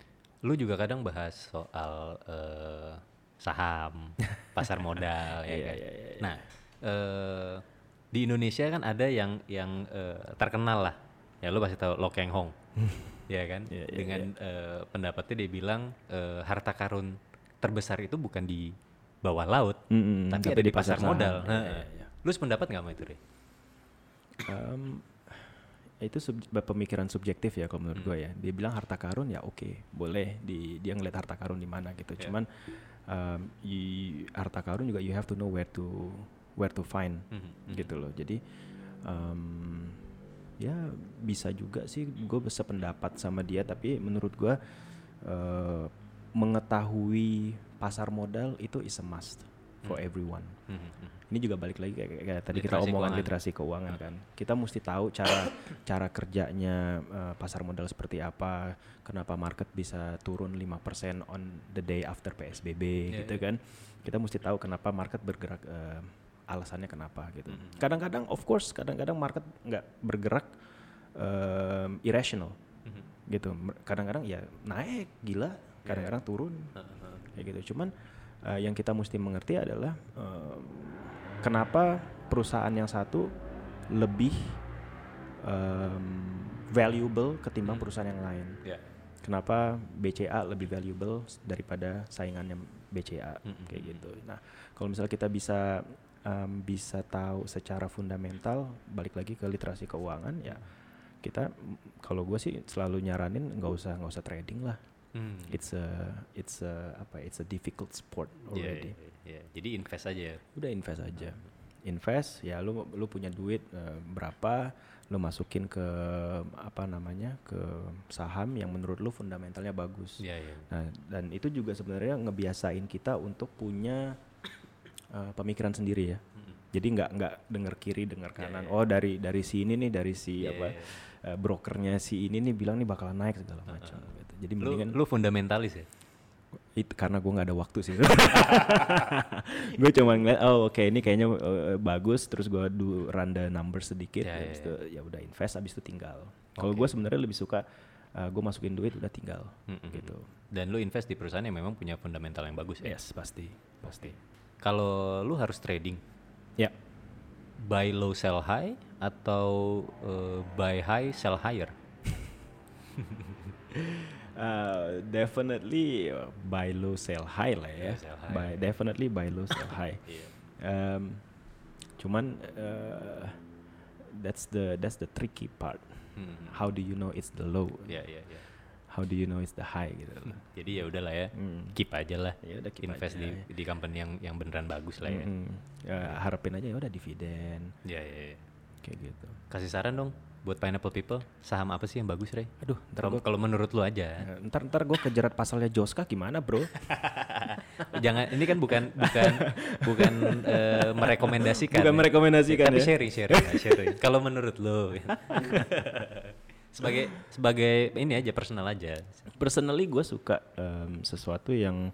Speaker 1: Lu juga kadang bahas soal eh,
Speaker 2: *laughs*
Speaker 1: saham, pasar modal ya kan.
Speaker 2: Iya, iya, iya, iya.
Speaker 1: Nah, eh, di Indonesia kan ada yang yang eh, terkenal lah. Ya lu pasti tahu Lo Keng
Speaker 2: *laughs*
Speaker 1: Hong. ya kan?
Speaker 2: Iya, iya,
Speaker 1: Dengan eh, pendapatnya dia bilang eh, harta karun terbesar itu bukan di bawah laut,
Speaker 2: Mm, mm, mm.
Speaker 1: tapi, ada di pasar,
Speaker 2: saham.
Speaker 1: modal.
Speaker 2: Iya,
Speaker 1: Heeh.
Speaker 2: iya, iya.
Speaker 1: Lu sependapat nggak sama itu, Re?
Speaker 2: Em, itu sub- pemikiran subjektif ya kalau menurut gue ya. Dia bilang harta karun ya oke, boleh di dia ngeliat harta karun di mana gitu.
Speaker 1: Ya.
Speaker 2: Cuman em, you- harta karun juga you have to know where to where to find
Speaker 1: Mhm, mhm.
Speaker 2: gitu loh. Jadi em, ya bisa juga sih gue sependapat sama dia tapi menurut gue eh, mengetahui pasar modal itu is a must for everyone
Speaker 1: Mhm, mhm.
Speaker 2: ini juga balik lagi kayak, kayak- kayak tadi kita
Speaker 1: Literasi
Speaker 2: omongan
Speaker 1: keuangan.
Speaker 2: literasi keuangan kan kita mesti tahu cara *coughs* cara kerjanya eh, pasar modal seperti apa kenapa market bisa turun 5% on the day after PSBB
Speaker 1: Iya,
Speaker 2: gitu
Speaker 1: iya.
Speaker 2: kan kita mesti tahu kenapa market bergerak eh, alasannya kenapa gitu
Speaker 1: Hmm.
Speaker 2: kadang-kadang of course kadang-kadang market nggak bergerak eh, irrational
Speaker 1: Mhm.
Speaker 2: gitu Mer- kadang-kadang ya naik gila
Speaker 1: Iya,
Speaker 2: kadang-kadang turun kayak gitu cuman eh, yang kita mesti mengerti adalah eh, kenapa perusahaan yang satu lebih em, valuable ketimbang perusahaan yang lain
Speaker 1: Ya.
Speaker 2: kenapa BCA lebih valuable s- daripada saingannya BCA kayak gitu. Nah, kalau misalnya kita bisa um, bisa tahu secara fundamental balik lagi ke literasi keuangan ya kita mm, kalau gue sih selalu nyaranin nggak usah nggak usah trading lah.
Speaker 1: Hmm.
Speaker 2: It's a it's a apa it's a difficult sport
Speaker 1: Iya,
Speaker 2: already.
Speaker 1: iya, iya. Jadi invest aja ya.
Speaker 2: Udah invest aja. Invest ya lu lu punya duit eh, berapa lu masukin ke apa namanya ke saham yang menurut lu fundamentalnya bagus.
Speaker 1: Iya, iya.
Speaker 2: Nah, dan itu juga sebenarnya ngebiasain kita untuk punya eh, pemikiran sendiri ya. Jadi nggak nggak dengar kiri dengar kanan. Oh dari dari si ini nih dari si
Speaker 1: Iya,
Speaker 2: apa
Speaker 1: iya.
Speaker 2: eh, brokernya si ini nih bilang nih bakalan naik segala macam. gitu. Jadi
Speaker 1: Lu,
Speaker 2: mendingan
Speaker 1: lu fundamentalis ya?
Speaker 2: itu karena gue nggak ada waktu sih. *laughs* gue cuma ngeliat oh oke ini kayaknya eh, bagus terus gue do run the number sedikit
Speaker 1: Ya, ya,
Speaker 2: habis itu ya udah invest habis itu tinggal. Kalau gue sebenarnya lebih suka gue masukin duit udah tinggal
Speaker 1: Mm, mm, mm.
Speaker 2: gitu.
Speaker 1: Dan lu invest di perusahaan yang memang punya fundamental yang bagus ya?
Speaker 2: Yes pasti pasti.
Speaker 1: Kalau lu harus trading,
Speaker 2: Ya.
Speaker 1: buy low sell high atau eh, buy high sell higher?
Speaker 2: Uh, definitely uh, buy low sell high lah ya.
Speaker 1: Yeah, sell high.
Speaker 2: Buy definitely buy low
Speaker 1: *laughs*
Speaker 2: sell high.
Speaker 1: Iya.
Speaker 2: Um, cuman uh, that's the that's the tricky part.
Speaker 1: Hmm.
Speaker 2: How do you know it's the low?
Speaker 1: Iya,
Speaker 2: ya,
Speaker 1: iya, iya.
Speaker 2: How do you know it's the high gitu loh.
Speaker 1: Jadi ya udahlah ya.
Speaker 2: Hmm.
Speaker 1: Keep aja lah.
Speaker 2: Ya udah keep
Speaker 1: Invest
Speaker 2: aja
Speaker 1: di
Speaker 2: ya.
Speaker 1: di company yang yang beneran bagus lah ya.
Speaker 2: Mm-mm. Ya, harapin aja ya udah dividen
Speaker 1: Iya, iya, iya.
Speaker 2: kayak gitu.
Speaker 1: Kasih saran dong buat Pineapple People, saham apa sih yang bagus, Rey?
Speaker 2: Aduh, ntar
Speaker 1: Kalau
Speaker 2: gue
Speaker 1: kalau menurut lu aja.
Speaker 2: Eh, ntar ntar gue kejerat pasalnya Joska gimana bro?
Speaker 1: Jangan ini kan bukan bukan bukan eh, merekomendasikan. ya.
Speaker 2: Bukan merekomendasikan
Speaker 1: Tapi
Speaker 2: ya.
Speaker 1: sharing sharing lah, sharing. Kalau menurut lu sebagai sebagai ini aja personal aja.
Speaker 2: Personally gue suka em, sesuatu yang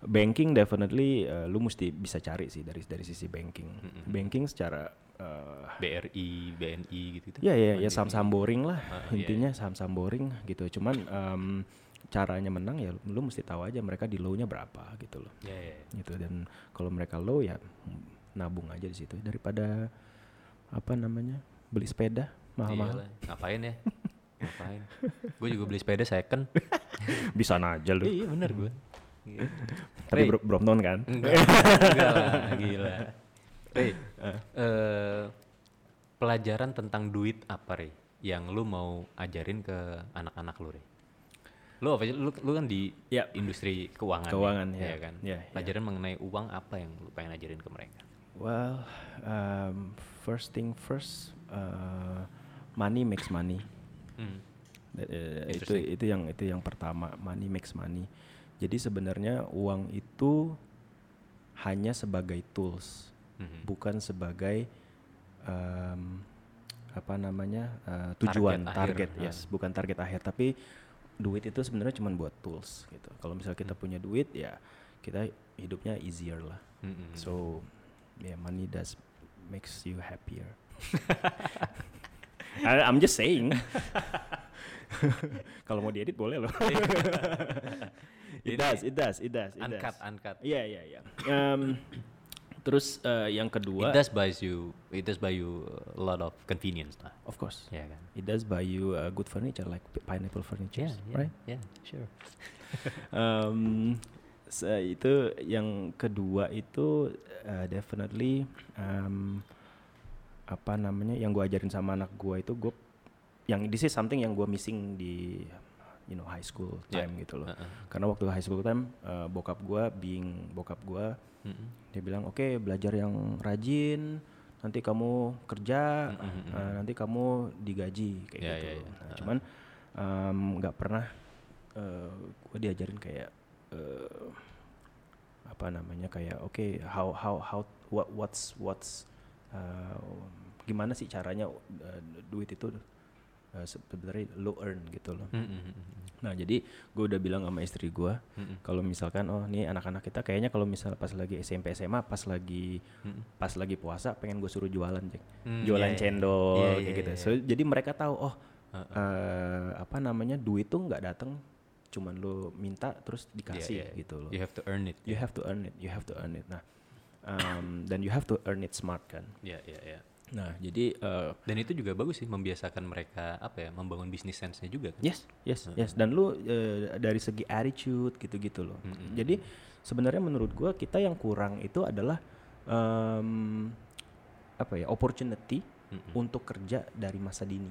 Speaker 2: banking definitely eh, lu mesti bisa cari sih dari dari sisi banking. Banking secara eh,
Speaker 1: BRI, BNI gitu-gitu. Iya,
Speaker 2: ya ya ya saham-saham boring lah
Speaker 1: Ah, iya,
Speaker 2: intinya saham-saham boring gitu. Cuman em, caranya menang ya lu mesti tahu aja mereka di low-nya berapa gitu loh.
Speaker 1: Ya, ya, ya.
Speaker 2: gitu dan kalau mereka low ya nabung aja di situ daripada apa namanya beli sepeda mahal-mahal
Speaker 1: Iyalah, Ngapain ya? Ngapain? Gue juga beli sepeda second.
Speaker 2: bisa aja lu
Speaker 1: iya bener gue. Iya.
Speaker 2: tapi bro, Brompton kan
Speaker 1: Enggak, enggak *laughs* lah, gila. Rey, eh, pelajaran tentang duit apa Rey? Yang lu mau ajarin ke anak-anak lu Rey? Lu, apa sih? lu, lu kan di
Speaker 2: Ya.
Speaker 1: industri keuangan,
Speaker 2: Keuangan,
Speaker 1: ya,
Speaker 2: ya.
Speaker 1: kan?
Speaker 2: Ya, ya.
Speaker 1: pelajaran mengenai uang apa yang lu pengen ajarin ke mereka?
Speaker 2: well um, first thing first uh, money makes money
Speaker 1: Hmm.
Speaker 2: That, eh, itu
Speaker 1: Interesting.
Speaker 2: itu yang itu yang pertama money makes money jadi sebenarnya uang itu hanya sebagai tools
Speaker 1: Mhm.
Speaker 2: bukan sebagai em, apa namanya eh, tujuan
Speaker 1: Target
Speaker 2: target,
Speaker 1: akhir, Ah.
Speaker 2: yes bukan target akhir tapi duit itu sebenarnya cuma buat tools gitu kalau misalnya
Speaker 1: Mm.
Speaker 2: kita punya duit ya kita hidupnya easier lah
Speaker 1: Mhm.
Speaker 2: so yeah money does makes you
Speaker 1: *laughs*
Speaker 2: happier I- I'm just saying *laughs* kalau mau diedit boleh loh
Speaker 1: Iya.
Speaker 2: *laughs* it does it does it does it
Speaker 1: Uncut,
Speaker 2: does
Speaker 1: uncut.
Speaker 2: Iya iya iya. Em, terus eh, yang
Speaker 1: It
Speaker 2: kedua,
Speaker 1: does buys you, it does buy you a lot of convenience lah,
Speaker 2: of course,
Speaker 1: ya kan?
Speaker 2: it does buy you uh, good furniture like pi- pineapple furniture,
Speaker 1: Yeah, yeah,
Speaker 2: right?
Speaker 1: yeah, sure.
Speaker 2: Em, se- itu yang kedua itu eh, definitely em, apa namanya yang gue ajarin sama anak gue itu gue yang this is something yang gue missing di you know high school
Speaker 1: Yeah.
Speaker 2: time gitu loh.
Speaker 1: Uh-uh.
Speaker 2: Karena waktu high school time eh, bokap gue being bokap gue
Speaker 1: Mhm.
Speaker 2: dia bilang oke belajar yang rajin nanti kamu kerja eh, nanti kamu digaji kayak
Speaker 1: Ya,
Speaker 2: gitu
Speaker 1: ya, ya.
Speaker 2: Nah, cuman em, nggak pernah gue diajarin kayak eh, apa namanya kayak oke how how how what what's what's eh, gimana sih caranya eh, duit itu eh, sebenarnya lo earn gitu loh
Speaker 1: Mhm, mhm, mhm.
Speaker 2: Nah jadi gue udah bilang sama istri gue
Speaker 1: Mm-mm.
Speaker 2: kalau misalkan oh nih anak-anak kita kayaknya kalau misal pas lagi SMP SMA pas lagi pas lagi puasa pengen gue suruh jualan Jack.
Speaker 1: Hmm, iya,
Speaker 2: jualan
Speaker 1: iya.
Speaker 2: cendol
Speaker 1: Iya,
Speaker 2: kayak
Speaker 1: iya,
Speaker 2: gitu.
Speaker 1: iya.
Speaker 2: So, jadi mereka tahu oh eh, apa namanya duit tuh nggak datang cuman lo minta terus
Speaker 1: Yeah,
Speaker 2: dikasih
Speaker 1: yeah.
Speaker 2: gitu loh.
Speaker 1: You have to earn it.
Speaker 2: You have to earn it, you have to earn it. Nah um, dan you have to earn it smart kan.
Speaker 1: Ya, ya, ya.
Speaker 2: Nah jadi eh,
Speaker 1: Dan itu juga bagus sih membiasakan mereka apa ya, membangun bisnis sense-nya juga kan.
Speaker 2: Yes, yes, yes. Dan lu eh, dari segi attitude gitu-gitu loh. Jadi sebenarnya menurut gua kita yang kurang itu adalah em, apa ya opportunity untuk kerja dari masa dini.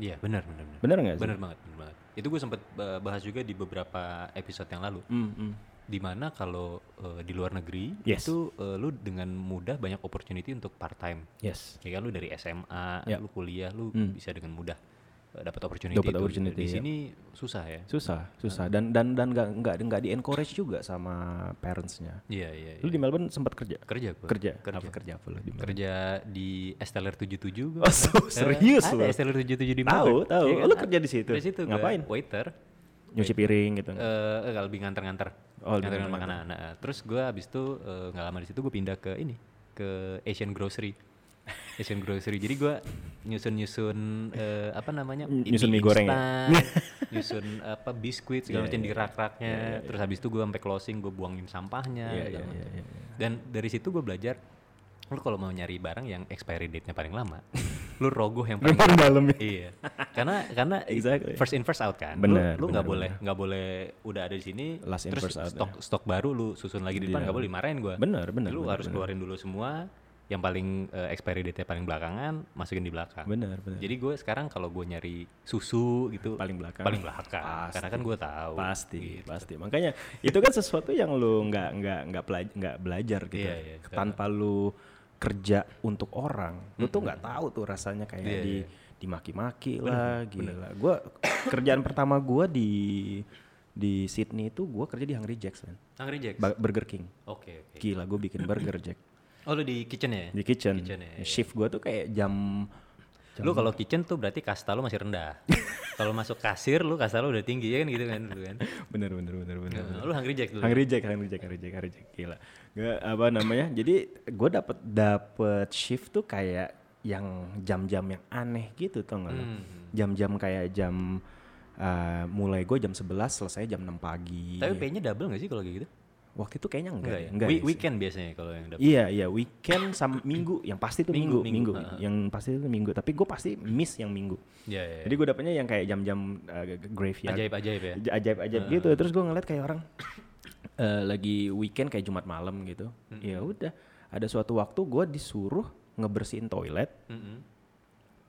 Speaker 1: Iya, benar, benar, benar.
Speaker 2: Bener nggak sih?
Speaker 1: Benar banget, benar banget. Itu gue sempat ba- bahas juga di beberapa episode yang lalu.
Speaker 2: Mm, mm.
Speaker 1: Dimana kalau eh, di luar negeri
Speaker 2: Yes.
Speaker 1: itu eh, lu dengan mudah banyak opportunity untuk part time.
Speaker 2: Yes.
Speaker 1: Ya kan lu dari SMA,
Speaker 2: Ya.
Speaker 1: lu kuliah, lu
Speaker 2: Hmm.
Speaker 1: bisa dengan mudah eh, dapat opportunity.
Speaker 2: Dapat
Speaker 1: itu.
Speaker 2: opportunity,
Speaker 1: Di
Speaker 2: ya.
Speaker 1: sini susah ya.
Speaker 2: Susah, susah. Dan dan dan nggak nggak nggak di encourage juga sama parentsnya.
Speaker 1: Iya, iya.
Speaker 2: Lu
Speaker 1: iya.
Speaker 2: di Melbourne sempat kerja?
Speaker 1: Kerja gue.
Speaker 2: Kerja.
Speaker 1: Kerja.
Speaker 2: Apa kerja apa lu di Melbourne?
Speaker 1: kerja di Esteller 77 gua. Eh,
Speaker 2: Oh, so- serius
Speaker 1: ada
Speaker 2: lu?
Speaker 1: Esteller 77 di Iya kan?
Speaker 2: Tahu, tahu. Lu kerja di situ?
Speaker 1: Di situ gua
Speaker 2: Ngapain?
Speaker 1: Waiter.
Speaker 2: Nyuci piring gitu.
Speaker 1: Eh eh, lebih nganter-nganter.
Speaker 2: Oh, lebih
Speaker 1: nganter
Speaker 2: nganter-nganter.
Speaker 1: makanan. Nah, terus gua habis itu eh, nggak lama di situ gua pindah ke ini, ke Asian Grocery. Asian Grocery. Jadi gua nyusun-nyusun eh, apa namanya?
Speaker 2: Nyusun
Speaker 1: Indomie
Speaker 2: mie goreng ya? *laughs*
Speaker 1: instan, nyusun apa biskuit segala
Speaker 2: Iya,
Speaker 1: macam di
Speaker 2: iya.
Speaker 1: rak-raknya.
Speaker 2: Iya, iya,
Speaker 1: Terus habis itu gua sampai closing, gua buangin sampahnya
Speaker 2: Iya,
Speaker 1: segala
Speaker 2: iya,
Speaker 1: macam.
Speaker 2: iya, iya,
Speaker 1: Dan dari situ gue belajar, lu kalau mau nyari barang yang expiry date-nya paling lama, *laughs* lu rogoh yang
Speaker 2: Lu
Speaker 1: paling
Speaker 2: paling dalam ya.
Speaker 1: iya karena karena
Speaker 2: Exactly.
Speaker 1: first in first out kan Lu-
Speaker 2: Bener,
Speaker 1: lu nggak
Speaker 2: bener,
Speaker 1: boleh nggak boleh udah ada di sini
Speaker 2: Last in,
Speaker 1: terus
Speaker 2: first out, ya.
Speaker 1: stok stok baru lu susun lagi di depan
Speaker 2: Iya.
Speaker 1: nggak boleh dimarahin gua
Speaker 2: Bener, bener,
Speaker 1: lu
Speaker 2: bener,
Speaker 1: harus
Speaker 2: bener.
Speaker 1: keluarin dulu semua yang paling eh, expiry date paling belakangan masukin di belakang
Speaker 2: Bener, bener.
Speaker 1: jadi gue sekarang kalau gue nyari susu gitu
Speaker 2: Paling belakang.
Speaker 1: paling belakang
Speaker 2: Pasti.
Speaker 1: karena kan gue tahu
Speaker 2: pasti
Speaker 1: Gitu.
Speaker 2: pasti makanya itu kan sesuatu yang lu nggak nggak nggak pelaj- nggak belajar gitu
Speaker 1: Iya, iya, betul.
Speaker 2: tanpa lu kerja untuk orang lu tuh nggak tahu tuh rasanya kayak
Speaker 1: Iya,
Speaker 2: di dimaki-maki lah gila gua kerjaan pertama gua di di Sydney itu gua kerja di Hungry Jack's man.
Speaker 1: Hungry Jacks
Speaker 2: Ba- Burger King
Speaker 1: oke oke
Speaker 2: gila gua bikin burger Jack
Speaker 1: oh lu di kitchen ya
Speaker 2: di kitchen,
Speaker 1: kitchen ya, iya.
Speaker 2: shift gua tuh kayak jam
Speaker 1: Lu kalau kitchen tuh berarti kasta lu masih
Speaker 2: *laughs*
Speaker 1: rendah. kalau masuk kasir lu kasta lu udah tinggi ya kan gitu kan dulu kan.
Speaker 2: bener bener bener bener
Speaker 1: Nah, Lu hungry jack dulu.
Speaker 2: Hungry Jack, Hungry Jack, Hungry Jack, Hungry Jack, gila. Gak apa namanya? Jadi gue dapet dapet shift tuh kayak yang jam-jam yang aneh gitu tuh nggak? lo?
Speaker 1: Hmm.
Speaker 2: Jam-jam kayak jam eh, mulai gue jam 11 selesai jam 6 pagi.
Speaker 1: Tapi pay-nya double gak sih kalau kayak gitu?
Speaker 2: Waktu itu kayaknya Iya. enggak,
Speaker 1: Enggak ya.
Speaker 2: ya? enggak
Speaker 1: We-
Speaker 2: ya sih.
Speaker 1: weekend biasanya kalau yang double.
Speaker 2: Iya iya weekend sama *clears throat* minggu yang pasti tuh
Speaker 1: Minggu,
Speaker 2: minggu
Speaker 1: minggu,
Speaker 2: minggu,
Speaker 1: ha, ha.
Speaker 2: yang pasti itu minggu tapi gue pasti miss yang minggu.
Speaker 1: Iya iya.
Speaker 2: Jadi gue dapetnya yang kayak jam-jam eh, graveyard
Speaker 1: Ajaib-ajaib ya.
Speaker 2: Ja- ajaib-ajaib gitu terus gue ngeliat kayak orang *coughs* eh, lagi weekend kayak jumat malam gitu
Speaker 1: Hmm.
Speaker 2: ya udah ada suatu waktu gue disuruh ngebersihin toilet
Speaker 1: Mm-mm.